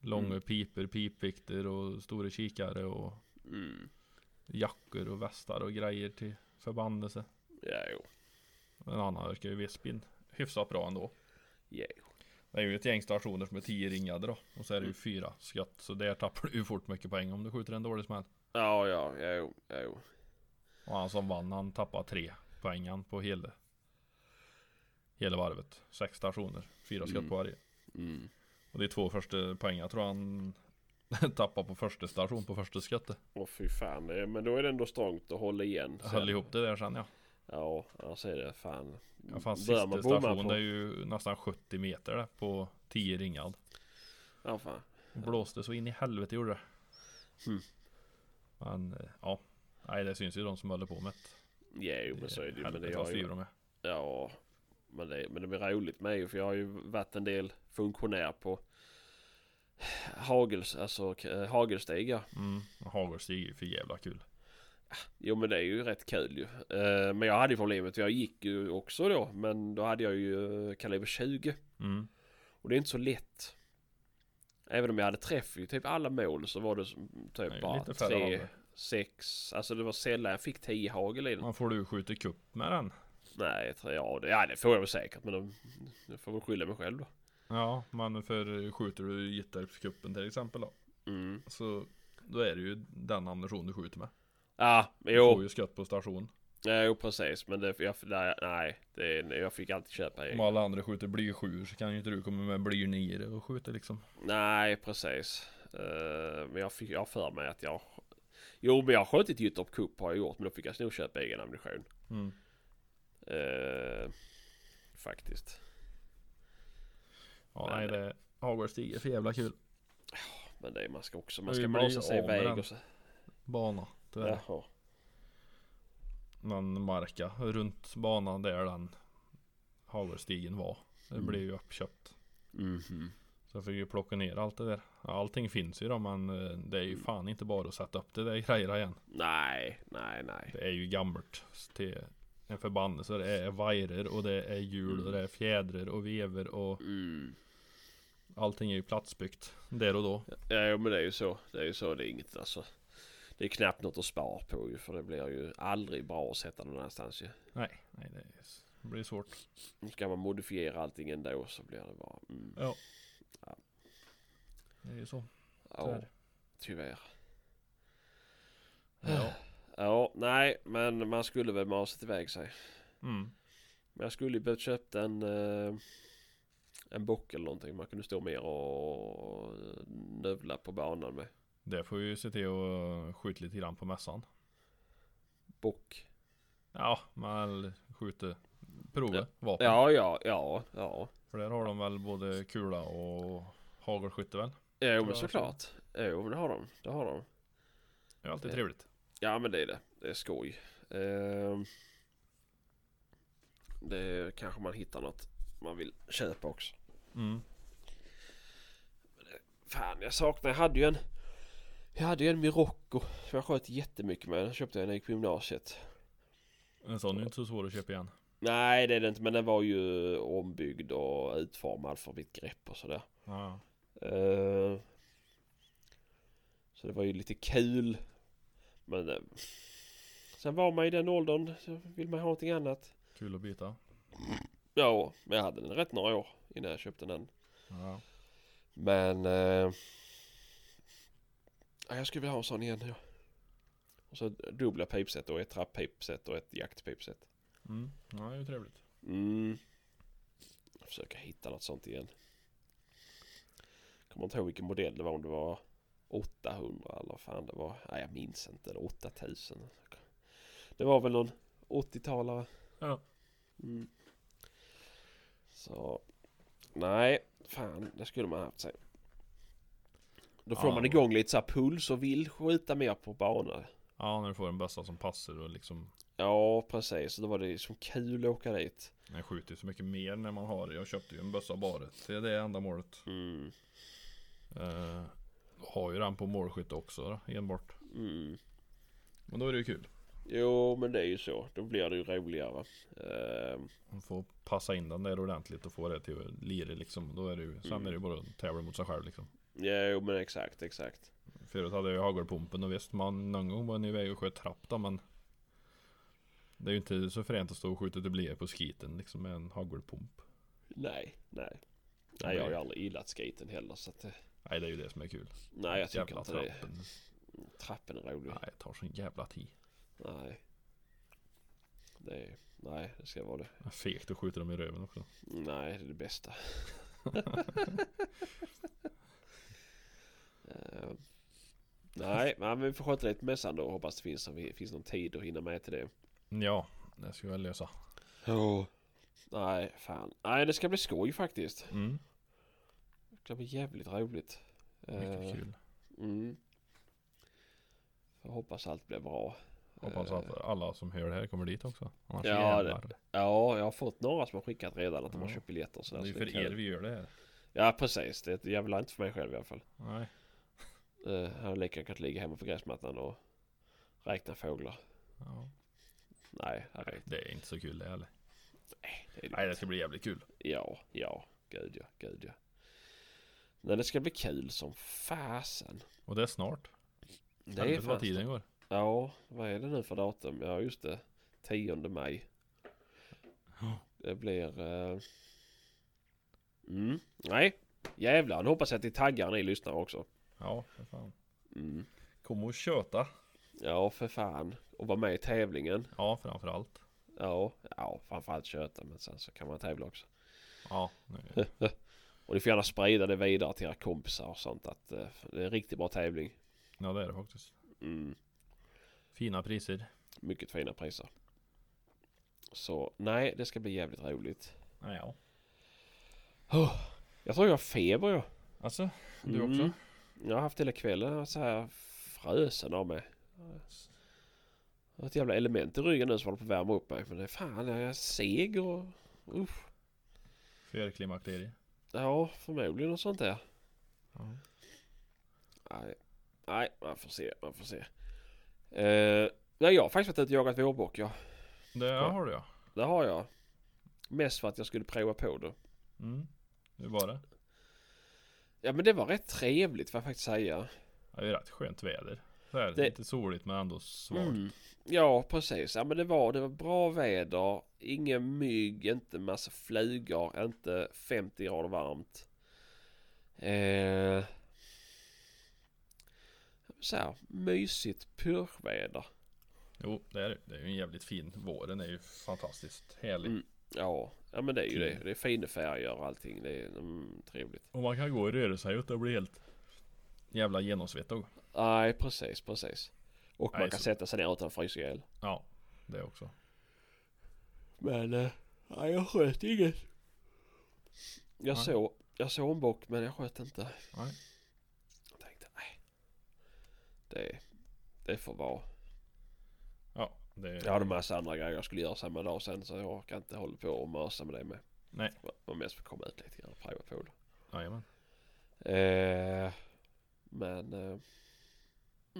A: Långa
B: Mm.
A: piper, pipvikter och stora kikare och
B: Mm.
A: jackor och västar och grejer till förbannelse.
B: Ja, jo.
A: Men han verkar ju vespin hyfsat bra ändå.
B: Ja.
A: Det är ju ett gäng stationer som är tio ringade då. Och så är det ju
B: Mm.
A: fyra skott. Så där tappar du ju fort mycket poäng om du skjuter en dålig smäll.
B: Ja, ja, ja, jo, ja, jo.
A: Och han som vann han tappade tre poäng han på hela, hela varvet. Sex stationer, fyra skott
B: Mm.
A: på varje.
B: Mm.
A: Och de två första poängen tror jag han <laughs> tappade på första station på första skottet.
B: Åh fy fan, det- men då är det ändå strångt att hålla igen. sen.
A: Höll ihop det där sen ja.
B: Ja, annars är det fan.
A: ja fan,
B: Börjar
A: sista
B: man bomma
A: station
B: på-
A: det är ju nästan 70 meter där på 10 ringad.
B: Ja, fan.
A: Blåste så in i helvete gjorde det.
B: Mm.
A: Men eh, ja. Nej det syns ju de som håller på med det.
B: Ja, jo, men så är det ju. Men det
A: Helvete
B: gör
A: vad
B: ju
A: styr de är.
B: Ja, men det, men det är roligt med ju för jag har ju varit en del funktionär på hagels, alltså k- eh, hagelstigar.
A: Mm. och Hagelstig är ju för jävla kul.
B: Jo men det är ju rätt kul ju. Eh, Men jag hade ju problemet, jag gick ju också då men då hade jag ju eh, kaliber 20
A: Mm.
B: och det är inte så lätt. Även om jag hade träff i typ alla mål så var det som
A: Det
B: typ
A: är ju
B: bara
A: lite färre
B: 3,
A: hagel.
B: 6, alltså det var sällan jag fick 10 hagel i den.
A: Man får du skjuta kupp med den.
B: Nej, tre, ja, det, ja det får jag väl säkert men de- jag får väl skylla mig själv då.
A: Ja men för skjuter du Gittorpskuppen till exempel då.
B: Mm.
A: Så då är det ju den ammunition du skjuter med.
B: Ja,
A: Du
B: jo.
A: får ju skott på station.
B: Nej, jo precis. Men det, jag, nej, nej, det, nej, jag fick alltid köpa
A: Om
B: egen.
A: alla andra skjuter bly 7 så kan ju inte du komma med bly 9 och skjuta liksom.
B: Nej, precis. Eh, men jag fick, jag har för mig att jag... Jo, men jag har skjutit Gyttorp Cup har jag gjort. Men då fick jag nog köpa egen ammunition.
A: Mm.
B: Eh, faktiskt.
A: Ja
B: Men-
A: nej det Hagårdsstig är för jävla kul.
B: Men det är- man ska också,
A: Men
B: man
A: vi
B: ska
A: blir
B: masa sig
A: av med
B: iväg
A: den.
B: och så.
A: Bana. Det är
B: Jaha.
A: någon marka runt banan där den Hagårdsstigen var. Det
B: Mm.
A: blev ju uppköpt.
B: Mhm.
A: Så jag fick ju plocka ner allt det där. Ja, Allting finns ju då men eh, det är ju
B: Mm.
A: fan inte bara att sätta upp det där grejerna igen.
B: Nej, nej, nej.
A: Det är ju gammalt till en förbannelse. Det är vajrar och det är hjul och det är fjädrar och vever och
B: Mm.
A: allting är ju platsbyggt. Där och då.
B: Ja, jo, men det är ju så. Det är ju så. Det är inget alltså. Det är knappt något att spara på ju. För det blir ju aldrig bra att sätta någon annanstans ju.
A: Nej, nej det är- det blir svårt.
B: Nu Ska man modifiera allting ändå så blir det bara... Mm.
A: Ja.
B: Ja.
A: Det är ju så.
B: Ja,
A: tyvärr.
B: tyvärr.
A: Ja.
B: Ja, nej, men man skulle väl masat iväg sig.
A: Mm.
B: Men jag skulle ju behövt köpt en... Eh, en bock eller någonting. Man kunde stå mer och növla på banan med.
A: Det får vi ju se till att skjuta lite grann på mässan.
B: Bock.
A: Ja, man skjuter. Prova vapen.
B: Ja, ja, ja, ja.
A: För där har de väl både kula och hagelskytte väl?
B: Jo men
A: Bra,
B: såklart. Jo men det har de. Det har de.
A: Det är alltid
B: Ja.
A: trevligt.
B: Ja men det är det. Det är skoj. Ehm, det är, kanske man hittar något man vill köpa också.
A: Mm.
B: Fan jag saknar. Jag hade ju en. Jag hade ju en Mirocco. Som jag sköt jättemycket med. Den köpte jag när jag gick på gymnasiet.
A: En sån är ju inte så svår att köpa igen.
B: Nej det är det inte. Men den var ju ombyggd och utformad för mitt grepp och sådär.
A: Ja.
B: Eh, Så det var ju lite kul. Men eh, sen var man i den åldern så vill man ha någonting annat.
A: Kul att byta.
B: Ja, men jag hade den rätt några år innan jag köpte den.
A: Ja.
B: Men... Eh, ja, jag skulle vilja ha en sån igen. Ja. Och så dubbla pipset och ett trapppipset och ett jaktpipset.
A: Mm. Ja, det är ju trevligt.
B: Mm. Jag försöker hitta något sånt igen. Kommer inte ihåg vilken modell det var. Om det var 800 eller vad fan det var. Nej, jag minns inte. Eller 8000. Det var väl någon 80-talare.
A: Ja.
B: Mm. Så. Nej, fan. Det skulle man haft sig. Då får
A: Ja.
B: man igång lite så här puls och vill skjuta mer på banor.
A: Ja, när du får den bästa som passar och liksom.
B: Ja, precis. Då var det som kul att åka dit.
A: Den skjuter ju så mycket mer när man har det. Jag köpte ju en bössa bara till det ändamålet.
B: Mm.
A: Eh, har ju den på målskytte också då, enbart.
B: Mm.
A: Men då är det ju kul.
B: Jo, men det är ju så. Då blir det ju roligare. Ehm,
A: Man får passa in den där ordentligt och få det till att lira liksom. Då är det ju, sen
B: Mm.
A: är det ju bara att tävla mot sig själv liksom.
B: jo, men exakt, exakt.
A: Förut hade jag ju hagelpumpen och visst man någon gång var ni iväg och sköt trapp då men Det är ju inte så fränt att stå och skjuta dubbler på skiten liksom med en hagelpump.
B: Nej, nej. Nej, jag har ju aldrig gillat skaten heller, så att det...
A: Nej det är ju det som är kul.
B: Nej, jag tycker
A: Jävla
B: inte det.
A: trappen.
B: Trappen är rolig.
A: Nej det tar sån jävla tid.
B: Nej. Det är... Nej, det ska vara det.
A: Fegt att skjuta dem i röven också.
B: Nej, det är det bästa. Ehm, nej, men vi får sköta lite mässan då och hoppas det finns, finns någon tid att hinna med till det.
A: Ja, det ska jag lösa.
B: Ja. Nej, fan. Nej, det ska bli skoj faktiskt.
A: Mm,
B: Det ska bli jävligt roligt. Eh,
A: mycket kul.
B: Mm. Jag hoppas allt blir bra.
A: Hoppas att alla som hör det här kommer dit också. Annars
B: Ja,
A: jävlar.
B: Ja, jag har fått några som har skickat redan att de har
A: Ja.
B: köpt biljetter och
A: Det
B: sådär.
A: är ju
B: så
A: för
B: kan-
A: er vi gör det här.
B: Ja, precis. Det är jävla inte för mig själv i alla fall.
A: Nej.
B: Eh, Jag hade lika gärna kunnat ligga hemma på gräsmattan och räkna fåglar.
A: Ja.
B: Nej, herregud.
A: Det är inte så kul det heller.
B: det är
A: Nej det
B: dumt.
A: ska bli jävligt kul.
B: Ja, ja. Gud ja, gud ja. Nej, det ska bli kul som fasen.
A: Och det är snart.
B: Det är
A: Helvete vad
B: fan...
A: tiden går.
B: Ja, vad är det nu för datum? Ja, just det. 10 maj.
A: Ja.
B: Det blir... eh, Mm. Nej. Jävlar, nu hoppas jag att ni taggar ni lyssnare också.
A: Ja, för fan.
B: Mm.
A: Kom och köta.
B: Ja, för fan. Och vara med i tävlingen.
A: Ja, framförallt.
B: Ja, ja framförallt köta men sen så kan man tävla också.
A: Ja,
B: <laughs>
A: nu-
B: Och ni får gärna sprida det vidare till era kompisar och sånt att eh, det är en riktigt bra tävling.
A: ja det är det faktiskt.
B: Mm.
A: Fina priser.
B: Mycket fina priser. Så nej, det ska bli jävligt roligt.
A: Ja, ja.
B: Jag tror jag har feber jag.
A: Alltså, du
B: Mm.
A: också?
B: Jag har haft hela kvällen jag har så här frösen av mig. Jag har ett jävla element i ryggen nu som håller på att värma upp mig. Men det är fan, jag är seg och... Uff.
A: Förklimakterie.
B: Ja, förmodligen något sånt där.
A: Ja.
B: Nej, nej man får se, man får se. Eh, nej, jag har faktiskt varit ute och jagat vårbock, ja.
A: Det
B: Skoj.
A: har du ja.
B: Det har jag. Mest för att jag skulle prova på det.
A: Mm. Hur var det?
B: Ja, men det var rätt trevligt, får jag faktiskt säga.
A: Ja, det är rätt skönt väder. Så här,
B: Det-
A: Lite soligt men ändå svalt.
B: Mm. Ja, precis. Ja, men det var, det var bra väder. Ingen mygg, inte massa flugor, inte 50 grader varmt. Eh, så här, mysigt purväder.
A: Jo, det är det. Det är ju en jävligt fin. Våren är ju fantastiskt härlig.
B: Mm. Ja, ja, men det är ju det. Det är fina färger och allting. Det är mm, trevligt.
A: Och man kan gå och röra sig och det blir helt jävla genomsvettig.
B: Nej, precis, precis. Och man
A: Nej,
B: kan
A: så-
B: sätta sig ner utan att frysa ihjäl.
A: Ja, det också.
B: Men, eh, nej jag sköt inget. Jag,
A: Nej.
B: såg, jag såg en bock men jag sköt inte.
A: Nej.
B: Jag tänkte nej. Det, det får vara.
A: Ja, det,
B: Jag hade massa andra grejer jag skulle göra samma dag sen så jag orkar inte hålla på och mösa med det med.
A: Nej.
B: Det var mest för att komma ut lite grann och pröva på det.
A: jajamän.
B: Eh, men... Eh,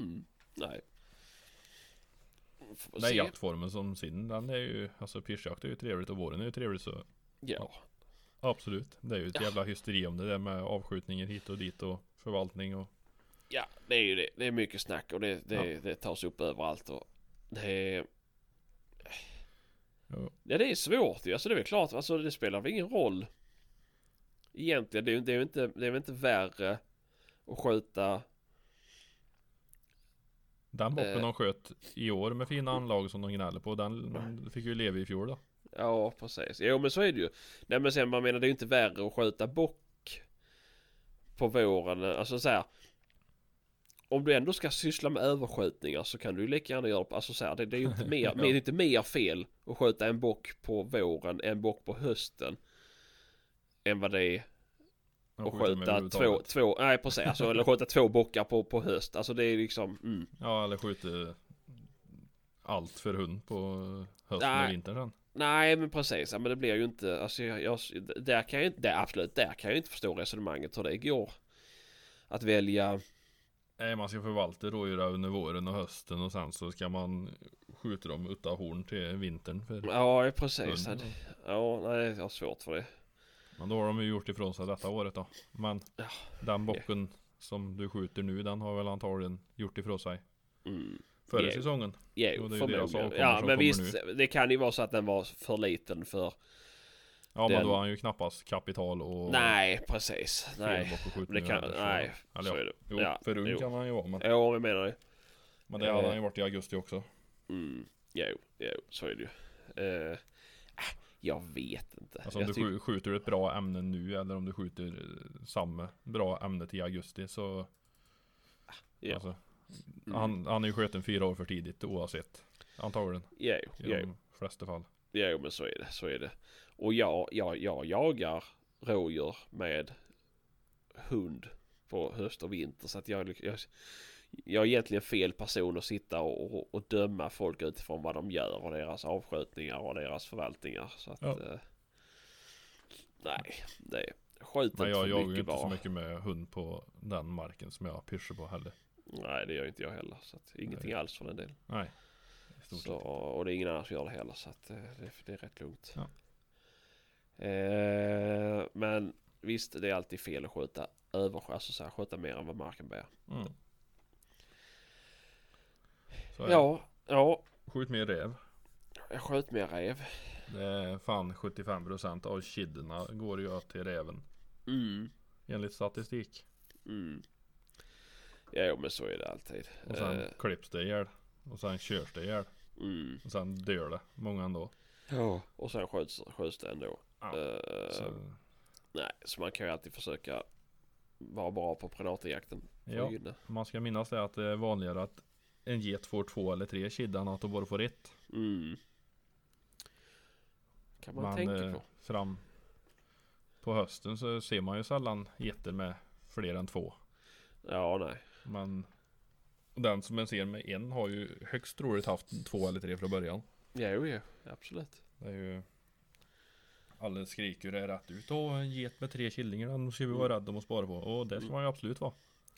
B: mm, nej. Får
A: Nej,
B: se.
A: jaktformen som sin, den är ju, alltså pyrschjakt är ju trevligt och våren är ju trevligt så
B: Ja.
A: absolut. Det är ju ett
B: Ja.
A: jävla hysteri om det där med avskjutningen hit och dit och förvaltning och
B: ja, det är ju det. Det är mycket snack och det, det,
A: Ja.
B: det tas upp överallt och det är...
A: Ja.
B: Ja, det är svårt ju. Alltså det är väl klart, alltså det spelar väl ingen roll. Egentligen, det är ju det är ju inte, det är väl inte värre att skjuta
A: den bocken
B: Eh.
A: de sköt i år med fina anlag som de gnäller på, den fick ju leva i fjol då.
B: Ja, precis. Jo, men så är det ju. Nej, men sen man menar det är ju inte värre att skjuta bock på våren. Alltså så här. Om du ändå ska syssla med överskjutningar så kan du ju lika gärna göra det. på- Alltså så här, det, det är ju inte mer,
A: Ja.
B: det är inte mer fel att skjuta en bock på våren, en bock på hösten. Än vad det är
A: De
B: att
A: skjuter dem
B: skjuta två,
A: överhuvudtaget.
B: två, nej precis, alltså, eller skjuta två bockar på, på höst. Alltså det är liksom, mm.
A: Ja, eller skjuter allt för hund på hösten
B: Nej.
A: och vintern sen.
B: Nej men precis, ja, men det blir ju inte, alltså jag, jag där kan jag inte, där, absolut, där kan jag inte förstå resonemanget hur det går. Att välja,
A: Nej, man ska förvalta rådjur under våren och hösten och sen så ska man skjuta dem utan horn till vintern för
B: ja precis,
A: hunden.
B: ja, ja nej jag har svårt för det.
A: Men då har de ju gjort ifrån sig detta året då. Men
B: Ja.
A: den bocken som du skjuter nu den har väl antagligen gjort ifrån sig
B: Mm.
A: förra
B: Ja.
A: säsongen.
B: Jo,
A: Jo, det är ju det jag sa,
B: förmodligen.
A: kommer
B: Ja
A: som
B: men
A: kommer
B: visst, det kan ju vara så att den var för liten för,
A: Ja men
B: Den-
A: då har han ju knappast kapital och
B: nej precis,
A: fel
B: nej.
A: bock att skjuta
B: Det
A: nu
B: kan,
A: heller, så-
B: nej,
A: Eller
B: så
A: ja.
B: är det.
A: Jo,
B: Ja,
A: för ung
B: jo.
A: kan han ju vara men,
B: Ja, jag menar det.
A: men det hade
B: Eh.
A: han ju varit i augusti också.
B: Mm, jo, jo, så är det ju. Eh, äh, jag vet inte.
A: Alltså om
B: jag
A: du
B: tyck-
A: skj- skjuter ett bra ämne nu eller om du skjuter eh, samma bra ämne till augusti så
B: ja.
A: alltså,
B: Mm.
A: han, han är ju skjuten fyra år för tidigt oavsett. Antagligen
B: Jo,
A: i
B: jo,
A: de flesta fall.
B: jo, men så är det, så är det. Och jag, jag, jag jagar rådjur med hund på höst och vinter så att jag, lyck- jag, jag är egentligen fel person att sitta och, och, och döma folk utifrån vad de gör och deras avskjutningar och deras förvaltningar. Så att,
A: Ja.
B: eh, nej, det skjut inte
A: Men jag
B: för
A: jagar ju
B: mycket
A: inte så
B: bara.
A: mycket med hund på den marken som jag pyschar på heller.
B: Nej, det gör inte jag heller. Så att, ingenting alls för den delen.
A: Nej. I stort
B: Så,
A: sett.
B: och det är ingen annan som gör det heller så att eh, det, det är rätt lugnt.
A: Ja.
B: Eh, men visst, det är alltid fel att skjuta över, alltså så här, skjuta mer än vad marken bär.
A: Mm. Så är det.
B: Ja, ja,
A: Skjut mer räv.
B: jag sköt mer räv.
A: Det är fan 75% av kidderna går ju till räven.
B: Mm,
A: Enligt statistik.
B: mm. Ja, men så är det alltid.
A: Och sen
B: Eh,
A: klipps det ihjäl. Och sen körs det ihjäl.
B: mm.
A: Och sen dör det. Många ändå.
B: Ja. Och sen skjuts, skjuts det ändå.
A: Ja,
B: Eh,
A: Så,
B: Nej, så man kan ju alltid försöka vara bra på predatorjakten. för att
A: ja,
B: gynna.
A: man ska minnas det att det är vanligare att en get får två eller tre kiddar än att de bara får ett.
B: Mm. Kan man
A: Men
B: tänka
A: eh,
B: på.
A: fram på hösten så ser man ju sällan getter med fler än två.
B: Ja, nej.
A: Men den som man ser med en har ju högst troligt haft två eller tre från början.
B: Jo, jo, absolut.
A: Det är ju alla skriker det rätt ut. Åh en get med tre killingar den ska vi
B: Mm.
A: vara rädda om och spara på. Och det ska man ju absolut vara.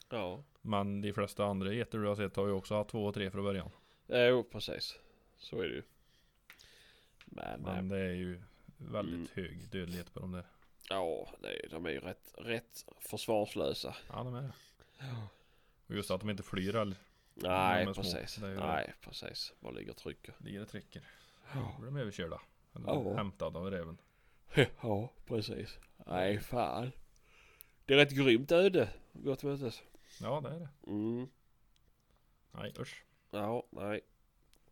B: Ja,
A: Men de flesta andra getter du har sett har ju också haft två och tre från början.
B: jo, precis. Så är det ju. Men,
A: Men
B: eh,
A: det är ju
B: Mm.
A: väldigt hög dödlighet på de där.
B: ja, det, är- de är ju rätt, rätt försvarslösa.
A: Ja de är det. Och just att de inte flyr heller.
B: Nej,
A: de är små.
B: precis.
A: Det är ju det.
B: Nej, precis. Var ligger trycket?
A: Ligger och trycker.
B: Ja.
A: Då blir de överkörda. Eller
B: Ja.
A: hämtade av räven.
B: <laughs> Ja, precis. Nej, fan. Det är rätt grymt öde. Gott mötes.
A: Ja det är det.
B: Mm.
A: Nej usch.
B: Ja, nej.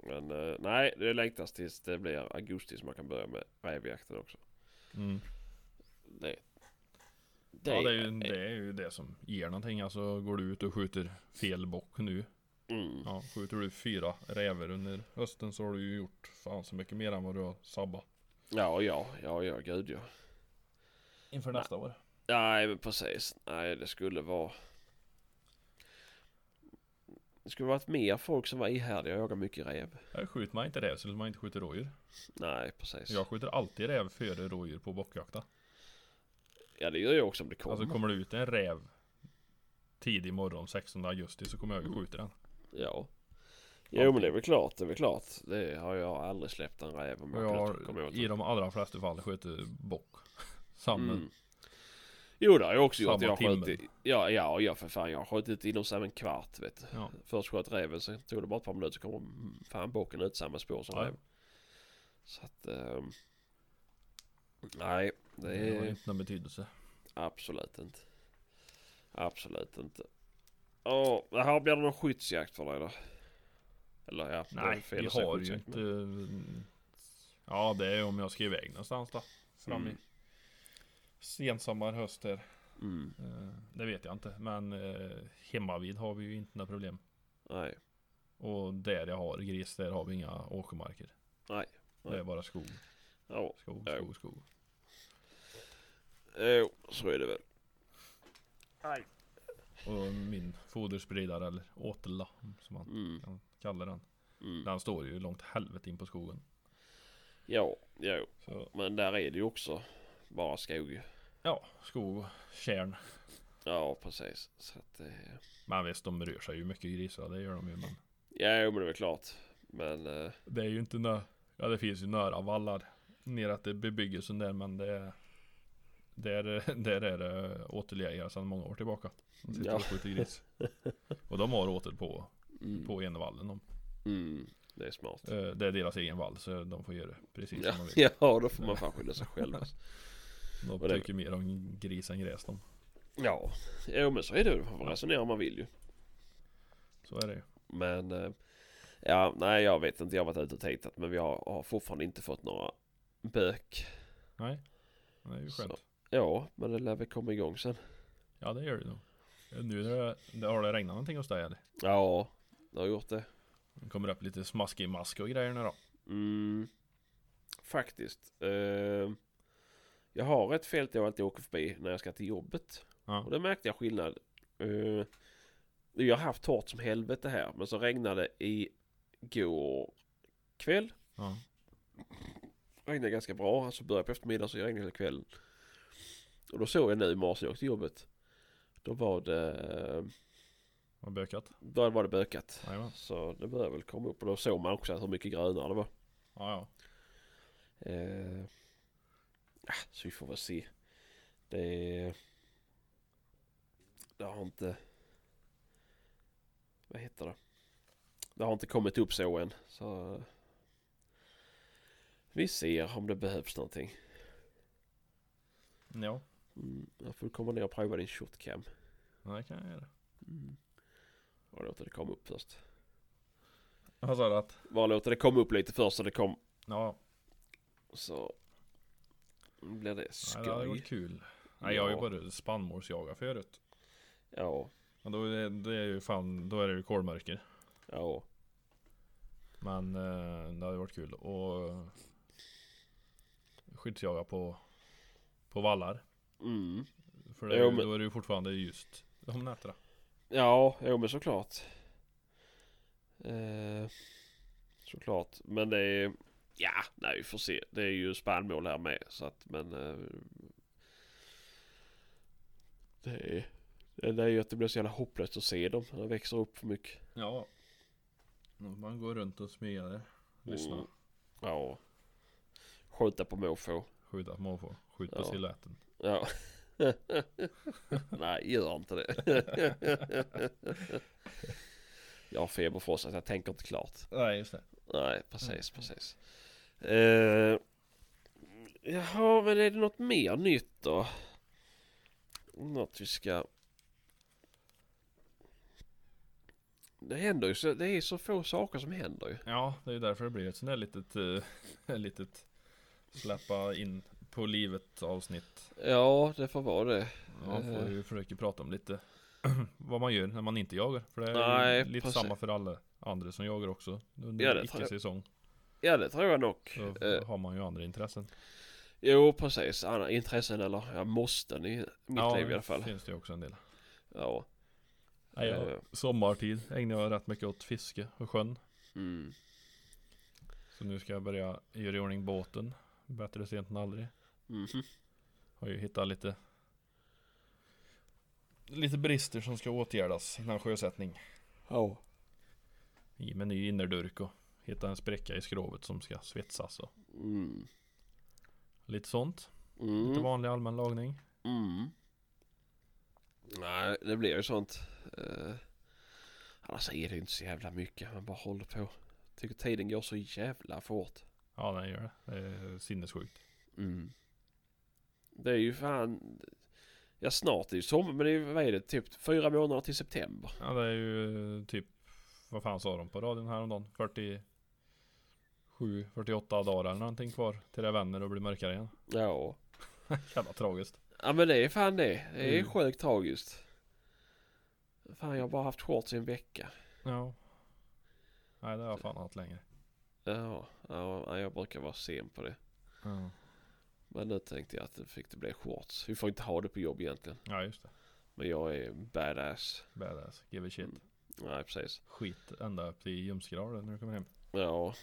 B: Men eh, nej, det längtas tills det blir augusti så man kan börja med rävjakten också.
A: Mm.
B: Det, det,
A: Ja, det, är ju, det är ju det som ger någonting. Alltså går du ut och skjuter fel bock nu.
B: Mm.
A: Ja, skjuter du fyra räver under hösten så har du ju gjort fan så mycket mer än vad du har sabbat.
B: Ja, ja, ja, ja, gud ja.
C: inför
B: Nej.
C: nästa år.
B: Nej men precis. Nej det skulle vara. Det skulle varit mer folk som var ihärdiga och jagade mycket rev.
A: Jag skjuter man inte räv så skulle man inte skjuta rådjur.
B: Nej precis.
A: Jag skjuter alltid räv före rådjur på bockjakta.
B: Ja det gör jag också om det kommer.
A: Alltså kommer det ut en räv tidig morgon 16 augusti så kommer jag ju
B: Mm.
A: skjuta den.
B: Ja. Jo men det är väl klart, det är väl klart. Det har jag aldrig släppt en räv om
A: Och
B: jag
A: jag
B: plötsligt kommer
A: har
B: åt
A: i
B: den.
A: de allra flesta fall skjutit bock. <laughs> Samma.
B: Mm. Jo det har jag också gjort.
A: Samma
B: Jag har
A: timme.
B: skjutit, ja, ja, ja för fan. Jag har skjutit inom samma kvart vet du.
A: Ja.
B: Först sköt räven, sen tog det bara ett par minuter så kommer mm, fan bocken ut samma spår som
A: Ja.
B: räven. Så att... ehm, nej, det
A: Det har
B: är
A: inte någon betydelse.
B: absolut inte. Absolut inte. Åh, det här blir det någon skyddsjakt för dig då? Eller ja, det är
A: Nej,
B: fel
A: vi
B: att säga
A: har ju
B: skyddsjakt,
A: inte...
B: men-
A: Ja, det är om jag ska iväg någonstans då. Fram
B: Mm.
A: i sensommar, höst här.
B: Mm,
A: Eh, Det vet jag inte, men eh, hemmavid har vi ju inte några problem.
B: nej,
A: Och där jag har gris, där har vi inga åkermarker.
B: nej.
A: Det är bara skog,
B: Ja,
A: skog,
B: Ja.
A: skog, skog.
B: jo, så är det väl.
A: Och min foderspridare, eller åtla som man
B: Mm,
A: kan kalla den.
B: mm.
A: Den står ju långt helvete in på skogen.
B: Ja, jo.
A: Så,
B: Men där är det ju också bara skog.
A: ja, skog, kärn.
B: Ja, precis. Så att eh, det...
A: Men visst, de rör sig ju mycket grisar, det gör de ju. Men
B: Ja, jo, men det är väl klart. Men... eh,
A: det är ju inte nö... Ja, det finns ju nära vallar. Neråt till bebyggelsen där, men det är... Där, <laughs> där är det återjägare sedan många år tillbaka. De sitter
B: Ja.
A: och skjuter gris. Och de har åter på,
B: Mm.
A: på envallen. De.
B: Mm, det är smart.
A: Eh, Det är deras egen vall, så de får göra precis
B: Ja,
A: som de vill.
B: <laughs> ja, då får man fan skylla
A: <laughs>
B: sig själv. alltså.
A: De
B: Och det-
A: tycker mer om gris än gräs de.
B: Ja, jo men så är det ju. Man får resonera om man vill ju.
A: Så är det ju.
B: Men... eh, Ja, nej jag vet inte. Jag har varit ute och tittat men vi har, har fortfarande inte fått några bök.
A: Nej. Det är ju skönt.
B: Så. Ja, men det lär väl komma igång sen.
A: Ja det gör det nog. Eh, Nu när det, det, har det regnat någonting hos dig eller?
B: Ja, det har gjort det.
A: Det kommer upp lite smaskig mask och grejer nu då.
B: Mm, faktiskt. Eh, jag har ett fält jag alltid åker förbi när jag ska till jobbet. Och
A: Ja.
B: det märkte jag skillnad. Eh, jag har haft torrt som helvete här. Men så regnade i går kväll.
A: ja.
B: Regnade ganska bra. Alltså började på eftermiddagen så jag regnade hela kvällen. Och då såg jag nu i morse när jag åkte till jobbet. Då var det...
A: Har bökat.
B: Då var det bökat.
A: Jajamän.
B: Så det började väl komma upp. Och då såg man också hur mycket grönare det var.
A: Ja ja.
B: Eh, ah, så vi får väl se. Det, det har inte... Vad heter det? Det har inte kommit upp så än. Så vi ser om det behövs någonting.
A: Ja.
B: Mm, jag får komma ner och prova din shotcam.
A: ja, Det kan jag göra.
B: Mm. Bara låta det komma upp först.
A: Vad sa du att?
B: Bara låta det komma upp lite först så det kom.
A: Ja.
B: Så blir det
A: Nej, det hade
B: skoj.
A: varit kul. Nej jag har ju
B: Ja.
A: bara spannmålsjagat förut.
B: Ja,
A: Men då är det, det är ju fan, då är det ju kolmörker.
B: ja,
A: Men eh, det hade varit kul och eh, skyddsjaga på, på vallar.
B: mm.
A: För det, är
B: Jo,
A: ju-
B: men-
A: då är det ju fortfarande just om nätterna.
B: Ja, jo men såklart. Eh, såklart. Men det är... Ja, nej vi får se. Det är ju spannmål här med. Så att men... Eh, det är... Det är ju att det blir så jävla hopplöst att se dem. De växer upp för mycket.
A: Ja. Man går runt och smyger där. Lyssna.
B: Mm. Ja. Skjuta på måfå.
A: Skjuta på måfå. Skjut på
B: Ja.
A: silhuetten.
B: Ja. <laughs> nej, gör inte det. <laughs> jag har feberfrossa så jag tänker inte klart.
A: Nej just det.
B: Nej, precis, precis. Eh, jaha, men är det något mer nytt då? Något vi ska... Det händer ju så, det är så få saker som händer ju.
A: Ja det är ju därför det blir ett sånt där litet, eh, <laughs> litet släppa in på livet avsnitt.
B: Ja, det får vara det.
A: Man
B: Eh.
A: får ju försöka prata om lite <clears throat> vad man gör när man inte jagar. För det är
B: Nej,
A: ju lite
B: precis.
A: samma för alla andra som jagar också.
B: Ja,
A: Under
B: det tror jag.
A: icke-säsong
B: Ja, det tror jag nog.
A: så
B: Eh,
A: har man ju andra intressen.
B: Jo, precis. Andra intressen eller ja, måsten i mitt
A: ja,
B: liv i alla fall.
A: finns det ju också en del.
B: Ja.
A: Nej, jag,
B: Eh,
A: Sommartid ägnar jag rätt mycket åt fiske och sjön.
B: mm.
A: Så nu ska jag börja göra i ordning båten. Bättre sent än aldrig.
B: Mhm.
A: Har ju hittat lite Lite brister som ska åtgärdas innan sjösättning.
B: Ja.
A: I med ny innerdurk och hitta en spräcka i skrovet som ska svetsas och
B: Mm.
A: lite sånt.
B: Mm.
A: Lite vanlig allmän lagning.
B: Mm. Nej, det blir ju sånt. Uh, annars är det ju inte så jävla mycket. Man bara håller på. Tycker tiden går så jävla fort.
A: Ja, den gör det. Det är sinnessjukt.
B: Mm. Det är ju fan... Ja, snart är ju sommar. Men det är ju, vad är det, typ fyra månader till september.
A: Ja, det är ju eh, typ Vad fan sa de på radion häromdagen? 47, 48 dagar eller någonting kvar till det vänder och blir mörkare igen.
B: Ja.
A: Jävla tragiskt.
B: Ja, men det är fan det. Det är
A: Mm.
B: sjukt tragiskt. Fan, jag har bara haft shorts i en vecka.
A: Ja. Nej, det har jag fan haft länge.
B: Ja, ja, jag brukar vara sen på det.
A: Ja,
B: Men nu tänkte jag att det fick det bli shorts. Vi får inte ha det på jobb egentligen.
A: ja just det.
B: Men jag är badass.
A: Badass. Give a shit.
B: Mm. Nej, precis.
A: Skit ända upp till ljumsgraden när du kommer hem.
B: Ja.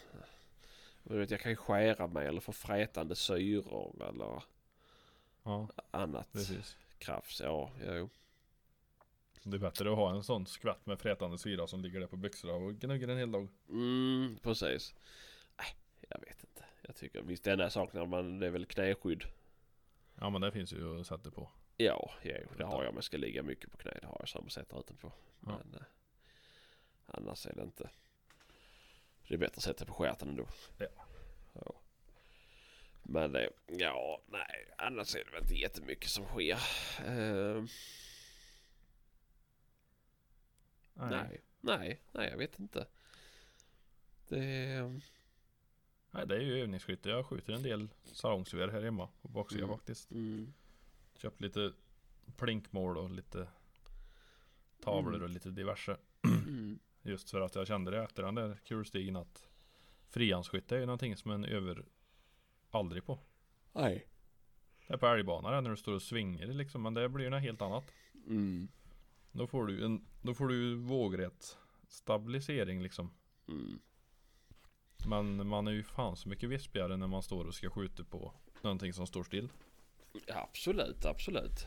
B: Men du vet, jag kan ju skära mig eller få frätande syror eller
A: Ja,
B: annat
A: precis.
B: krafs. Ja, jo.
A: Det är bättre att ha en sån skvätt med frätande syra som ligger där på byxorna och gnuggar en hel dag.
B: Mm, precis. Nej, jag vet inte. Jag tycker visst den här saknar man, det är väl knäskydd.
A: Ja, men det finns ju att sätta på.
B: Ja, jo, det har jag. Men jag ska ligga mycket på knä. Det har jag samma sätt utanpå.
A: Ja.
B: Men eh, annars är det inte. Det är bättre att sätta på stjärten ändå.
A: Ja.
B: ja. Men eh, ja, nej. Annars är det väl inte jättemycket som sker. Eh, nej. nej, nej, jag vet inte. Det eh,
A: Nej, det är ju övningsskytte. Jag skjuter en del salongsgevär här hemma på baksidan
B: Mm.
A: faktiskt.
B: mm,
A: Köpt lite plinkmål och lite tavlor
B: Mm.
A: och lite diverse.
B: mm,
A: Just för att jag kände det efter den där kulstigen att frihandskytte är ju någonting som en över aldrig på.
B: nej.
A: Det är på älgbanan där när du står och svingar liksom, men det blir ju något helt annat.
B: Mm,
A: Då får du en, då får du vågrätt stabilisering liksom.
B: mm,
A: Men man är ju fan så mycket vispigare när man står och ska skjuta på någonting som står still.
B: absolut, absolut.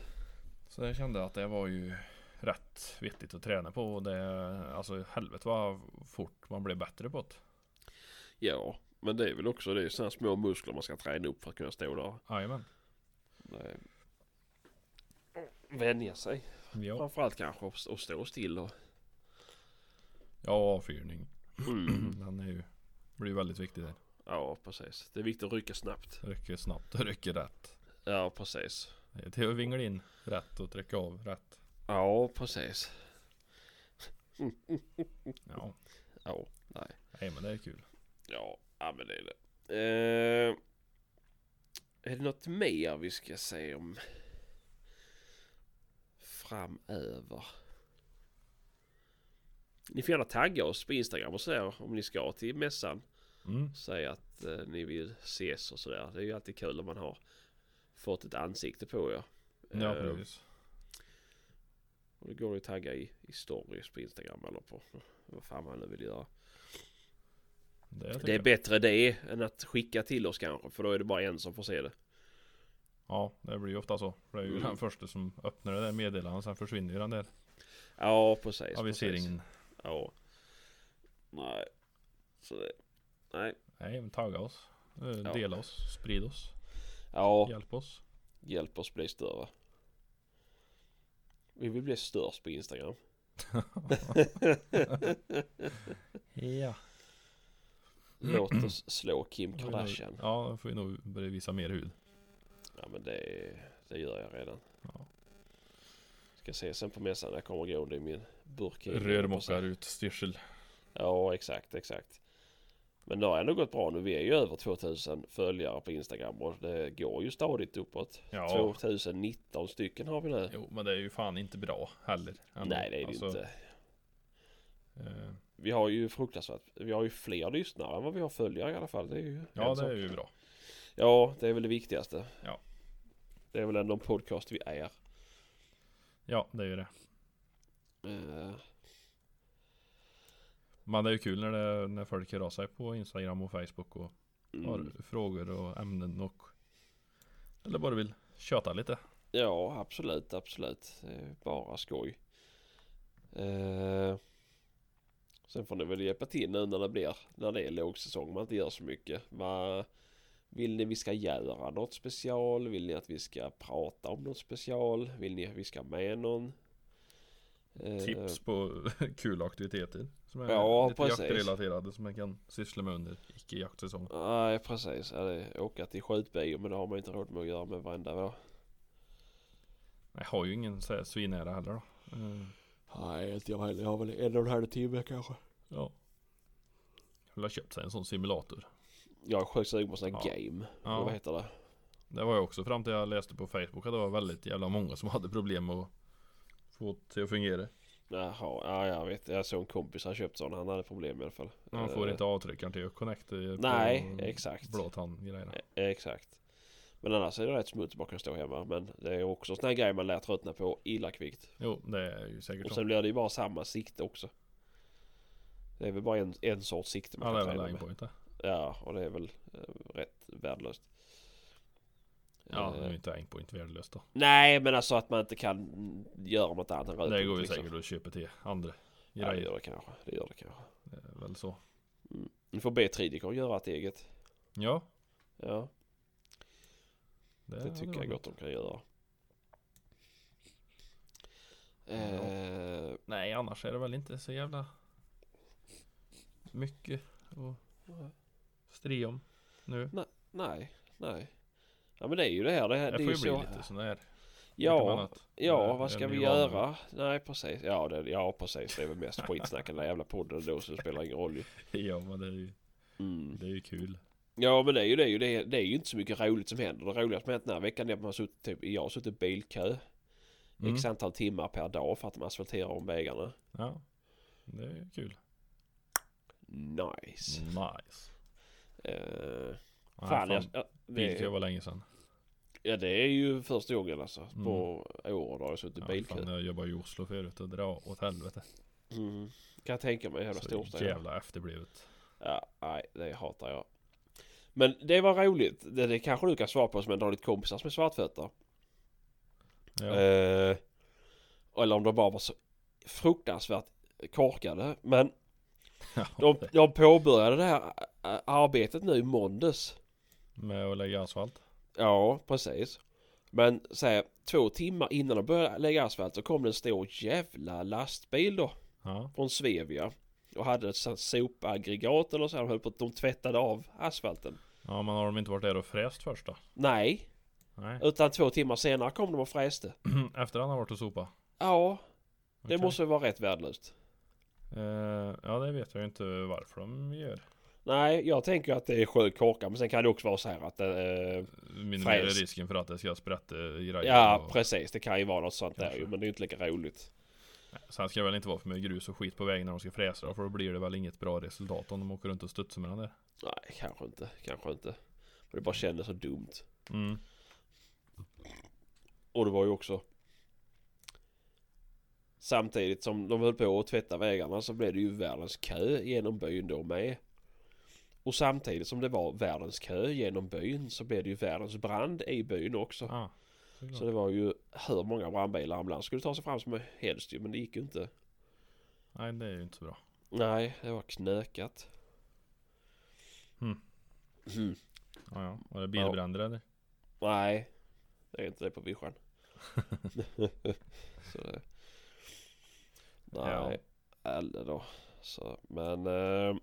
A: Så jag kände att det var ju rätt vettigt att träna på och det, alltså helvete vad fort man blev bättre på det.
B: Ja, men det är väl också det är sådana små muskler man ska träna upp för att kunna stå där.
A: Jajamän.
B: Nej. Vänja sig.
A: Ja.
B: Framförallt kanske att att stå still och...
A: ja, avfyrning. <clears throat> Den är ju, blir ju väldigt viktig där.
B: Mm. Ja, precis. Det är viktigt att rycka snabbt.
A: Rycker snabbt och rycker rätt.
B: Ja, precis.
A: Det är Till att vingla in rätt och trycka av rätt.
B: Ja, precis.
A: Ja,
B: Ja, nej.
A: nej men det är kul.
B: Ja, ja men det är det. Eh, är det något mer vi ska säga om framöver? Ni får gärna tagga oss på Instagram och så om ni ska till mässan.
A: Mm.
B: säga att eh, ni vill ses och sådär. Det är ju alltid kul om man har fått ett ansikte på er.
A: Ja,
B: Eh,
A: precis.
B: och det går ju att tagga i, i stories på Instagram eller på vad fan man nu vill göra.
A: Det, tycker
B: Det är
A: jag.
B: bättre det än att skicka till oss kanske för då är det bara en som får se det.
A: Ja, det blir ju ofta så. För Det är ju
B: Mm.
A: den första som öppnar det där meddelandet, sen försvinner ju den där
B: Ja precis. precis.
A: aviseringen.
B: Ja. Nej. Så det, nej.
A: Nej, men tagga oss. Eh,
B: Ja.
A: Dela oss, sprid oss,
B: Ja,
A: hjälp oss.
B: hjälp oss bli större. Vi vill bli störst på Instagram.
A: Ja.
B: Låt oss slå Kim
A: Då får vi nog-
B: Kardashian.
A: Mm. Ja, då får vi nog börja visa mer hud.
B: Ja men det, det gör jag redan.
A: Ja.
B: Ska se sen på mässan när jag kommer gående i min burk.
A: Rörmokar ut styrsel.
B: Ja exakt, exakt. Men det har ändå gått bra nu. Vi är ju över 2000 följare på Instagram och det går ju stadigt uppåt.
A: Ja.
B: 2019 stycken har vi nu.
A: Jo, men det är ju fan inte bra heller. ändå.
B: Nej det är det ju
A: Alltså,
B: inte.
A: eh,
B: Vi har ju fruktansvärt, vi har ju fler lyssnare än vad vi har följare i alla fall. Det är ju
A: ja,
B: en sak.
A: det är ju bra.
B: Ja, det är väl det viktigaste.
A: Ja.
B: Det är väl ändå en podcast vi är.
A: Ja, det är ju det.
B: Eh,
A: Men det är ju kul när, det, när folk hör av sig på Instagram och Facebook och
B: mm.
A: har frågor och ämnen och Eller bara vill köta lite.
B: Ja, absolut, absolut. Det är bara skoj. Eh, sen får ni väl hjälpa till nu när det blir, när det är lågsäsong, man inte gör så mycket. Vad vill ni vi ska göra något special? Vill ni att vi ska prata om något special? Vill ni att vi ska med någon? Eh,
A: Tips på <laughs> kul aktiviteter. Som är
B: Ja,
A: lite
B: precis.
A: jaktrelaterade som man kan syssla med under icke-jaktsäsong.
B: Nej, precis. Ja, det är åka till skjutbio, men det har man inte råd med att göra med varenda vår.
A: Jag har ju ingen så här svinnära heller då. Eh,
B: Nej, inte jag heller. Jag har väl en och en halv timme kanske.
A: Ja. Jag vill ha köpt sig en sån simulator.
B: Jag är sjukt sugen på sån här
A: Ja.
B: game.
A: Ja.
B: Eller Vad heter det?
A: Det var jag också fram till jag läste på Facebook att det var väldigt jävla många som <laughs> hade problem med att få till att fungera.
B: Jaha, ja jag vet. Jag såg en kompis han köpt sån. Han hade problem i alla fall.
A: Man får
B: Eh,
A: inte avtryckaren till att connecta på
B: Nej, exakt.
A: blåtandgrejerna.
B: Eh, Exakt. Men annars är det rätt smutsigt man kan stå hemma. Men det är också sån här grej man lär tröttna på illa kvickt.
A: Jo, det är ju säkert
B: Och
A: så.
B: sen blir det ju bara samma sikte också. Det är väl bara en, en sorts sikte man
A: Ja, det är väl
B: kan träna med.
A: aimpoint det.
B: Ja, och det är väl eh, rätt värdelöst.
A: Ja,
B: Eh,
A: nu är inte aimpoint värdelöst då.
B: Nej, men alltså att man inte kan göra något annat än rödpunkt.
A: Det går ju
B: liksom.
A: säkert att köpa till andra
B: Ja, det
A: grejer.
B: gör det kanske. Det gör det kanske.
A: Det är väl så.
B: Mm. Du får be Tridicon göra ett eget.
A: Ja,
B: Ja,
A: det,
B: det tycker jag gott de kan göra. Eh,
A: Nej, annars är det väl inte så jävla mycket att stri om nu.
B: nej, nej. Ja men det är ju det här. Det, här,
A: Det
B: det,
A: får
B: är ju
A: ju
B: så.
A: bli lite sån här. lite
B: ja,
A: annat. <laughs> Det
B: ja,
A: är
B: vad ska
A: en
B: vi
A: ny vana.
B: göra? Nej, precis. Ja, det, ja, precis. Det är väl mest skitsnack i den där jävla podden då så det spelar ingen roll ju.
A: Ja, men det är ju,
B: Mm.
A: det är ju kul.
B: Ja men det är ju det, är ju det, det är ju inte så mycket roligt som händer. Det roligaste som hänt den här veckan är att man har suttit, typ, jag har suttit i bilkö
A: Mm.
B: x antal timmar per dag för att de asfalterar om vägarna.
A: Ja, det är ju kul.
B: Nice.
A: Nice.
B: Eh,
A: Mm. Ja,
B: fan, jag,
A: fan.
B: jag,
A: Bilkö
B: det,
A: var länge sedan.
B: ja, det är ju första gången alltså på år då har jag suttit i
A: Mm. Ja,
B: bilkö.
A: fan, jag jobbade i Oslo förut och dra åt helvete.
B: Mm. Kan jag tänka mig hela
A: Så
B: storstäder.
A: jävla efterblivet.
B: Ja, nej det hatar jag. Men det var roligt. Det, det kanske du kan svara på som en har lite kompisar som är svartfötter.
A: Ja.
B: Eh, eller om de bara var så fruktansvärt korkade. Men de,
A: <laughs> Ja,
B: de påbörjade det här eh, arbetet nu i måndags.
A: Med att lägga asfalt.
B: Ja, precis. Men så här, två timmar innan de började lägga asfalt så kom det en stor jävla lastbil då
A: Ja.
B: från Svevia. Och hade ett sånt sopaggregat eller så här. De höll på att de tvättade av asfalten.
A: ja, men har de inte varit där och fräst först då?
B: Nej,
A: Nej. <clears throat>
B: utan två timmar senare kom de och fräste.
A: Efter han har varit och sopa.
B: Ja, det
A: Okej.
B: måste vara rätt värdelöst.
A: Eh, ja, det vet jag ju inte varför de gör.
B: Nej, jag tänker att det är sjukt korkat. Men sen kan det också vara så här att eh,
A: Minimera
B: Fräs.
A: risken för att det ska sprätta i grejer.
B: Ja
A: och-
B: precis, det kan ju vara något sånt där
A: Kanske.
B: ju. Men det är inte lika roligt.
A: Sen ska det väl inte vara för mycket grus och skit på vägen när de ska fräsa då, för då blir det väl inget bra resultat om de åker runt och studsar med den där.
B: Nej, kanske inte. Kanske inte. Men det bara kändes så dumt.
A: Mm.
B: Och det var ju också Samtidigt som de höll på att tvätta vägarna så blev det ju världens kö genom byn då med. Och samtidigt som det var världens kö genom byn så blev det ju världens brand i byn också.
A: Ah,
B: Så det var ju hur många brandbilar ambulans skulle ta sig fram som helst ju men det gick ju inte.
A: Nej, det är ju inte så bra.
B: Nej, det var knökat.
A: Mm.
B: Mm.
A: Ja, ja. Var det bilbränder eller?
B: Nej, det är inte det på vischan. <laughs> så det... Nej, eller då. Så, men... Eh,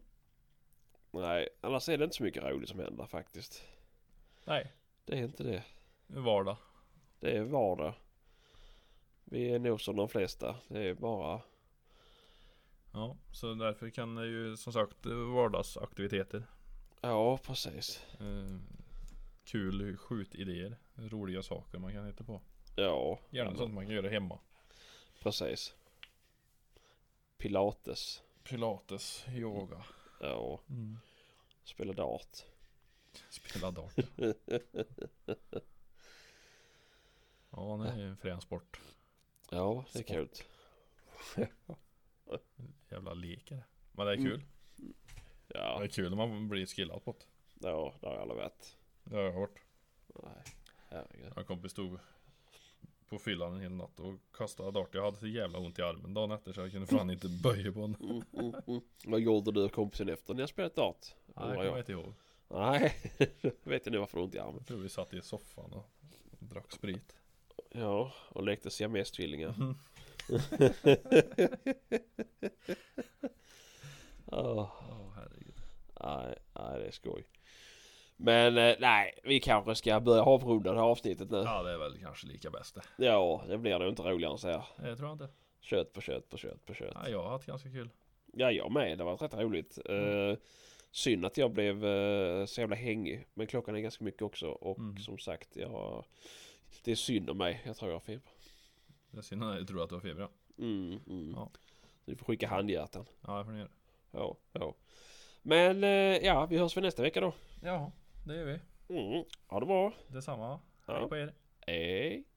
B: nej, annars är det inte så mycket roligt som händer faktiskt.
A: Nej,
B: Det är inte det.
A: vardag.
B: Det är vardag. Vi är nog som de flesta. Det är bara...
A: Ja, så därför kan det ju som sagt vardagsaktiviteter.
B: Ja, precis.
A: Eh, kul skjutidéer. Roliga saker man kan hitta på.
B: Ja,
A: Gärna sånt man kan göra hemma.
B: precis. Pilates.
A: Pilates, yoga.
B: Ja,
A: Mm.
B: spela dart.
A: Spela <laughs> dart. Ja, det är en frän sport.
B: Ja, det är
A: Sport.
B: kul.
A: Jävla leker. Men det är kul. Det
B: Ja,
A: är kul när man blir skillad på det.
B: ja, det har alla vet.
A: Det har jag hört.
B: Nej, herregud.
A: Jag har en kompis stod på fyllan en hel natt och kastade dart. Jag hade så jävla ont i armen dagen efter så jag kunde fan inte böja på den.
B: Mm, mm, mm. Vad gjorde du och kompisen efter när jag spelat dart?
A: Nej, det
B: Undrar
A: kommer jag
B: jag.
A: inte ihåg.
B: Nej, <laughs> vet jag nu varför du har ont i armen.
A: Jag tror vi satt i soffan och drack sprit.
B: Ja, och lekte siamestvillingar. <laughs>
A: Mhm.
B: Åh,
A: Åh herregud.
B: nej, nej, det är skoj. Men eh, nej, vi kanske ska börja avrunda det här avsnittet nu.
A: Ja, det är väl kanske lika bäst det.
B: Ja, det blir nog inte roligare än så här.
A: Nej, Jag tror inte.
B: Kött på kött på kött på kött.
A: Nej, jag har haft ganska kul.
B: Ja, jag med. Det var rätt roligt.
A: Mm.
B: Eh, synd att jag blev eh, så jävla hängig. Men klockan är ganska mycket också. Och
A: Mm.
B: som sagt, jag... det är synd om mig. Jag tror jag har feber.
A: Det är synd att jag tror att du har feber. ja.
B: Mm, mm.
A: Ja.
B: Du får skicka handhjärtan.
A: Ja, jag får ner.
B: Ja, ja. Men eh, ja, vi hörs väl nästa vecka då.
A: Ja, det gör vi.
B: Mm. Ha det bra.
A: Detsamma.
B: Ja.
A: Hej på er.
B: Hej.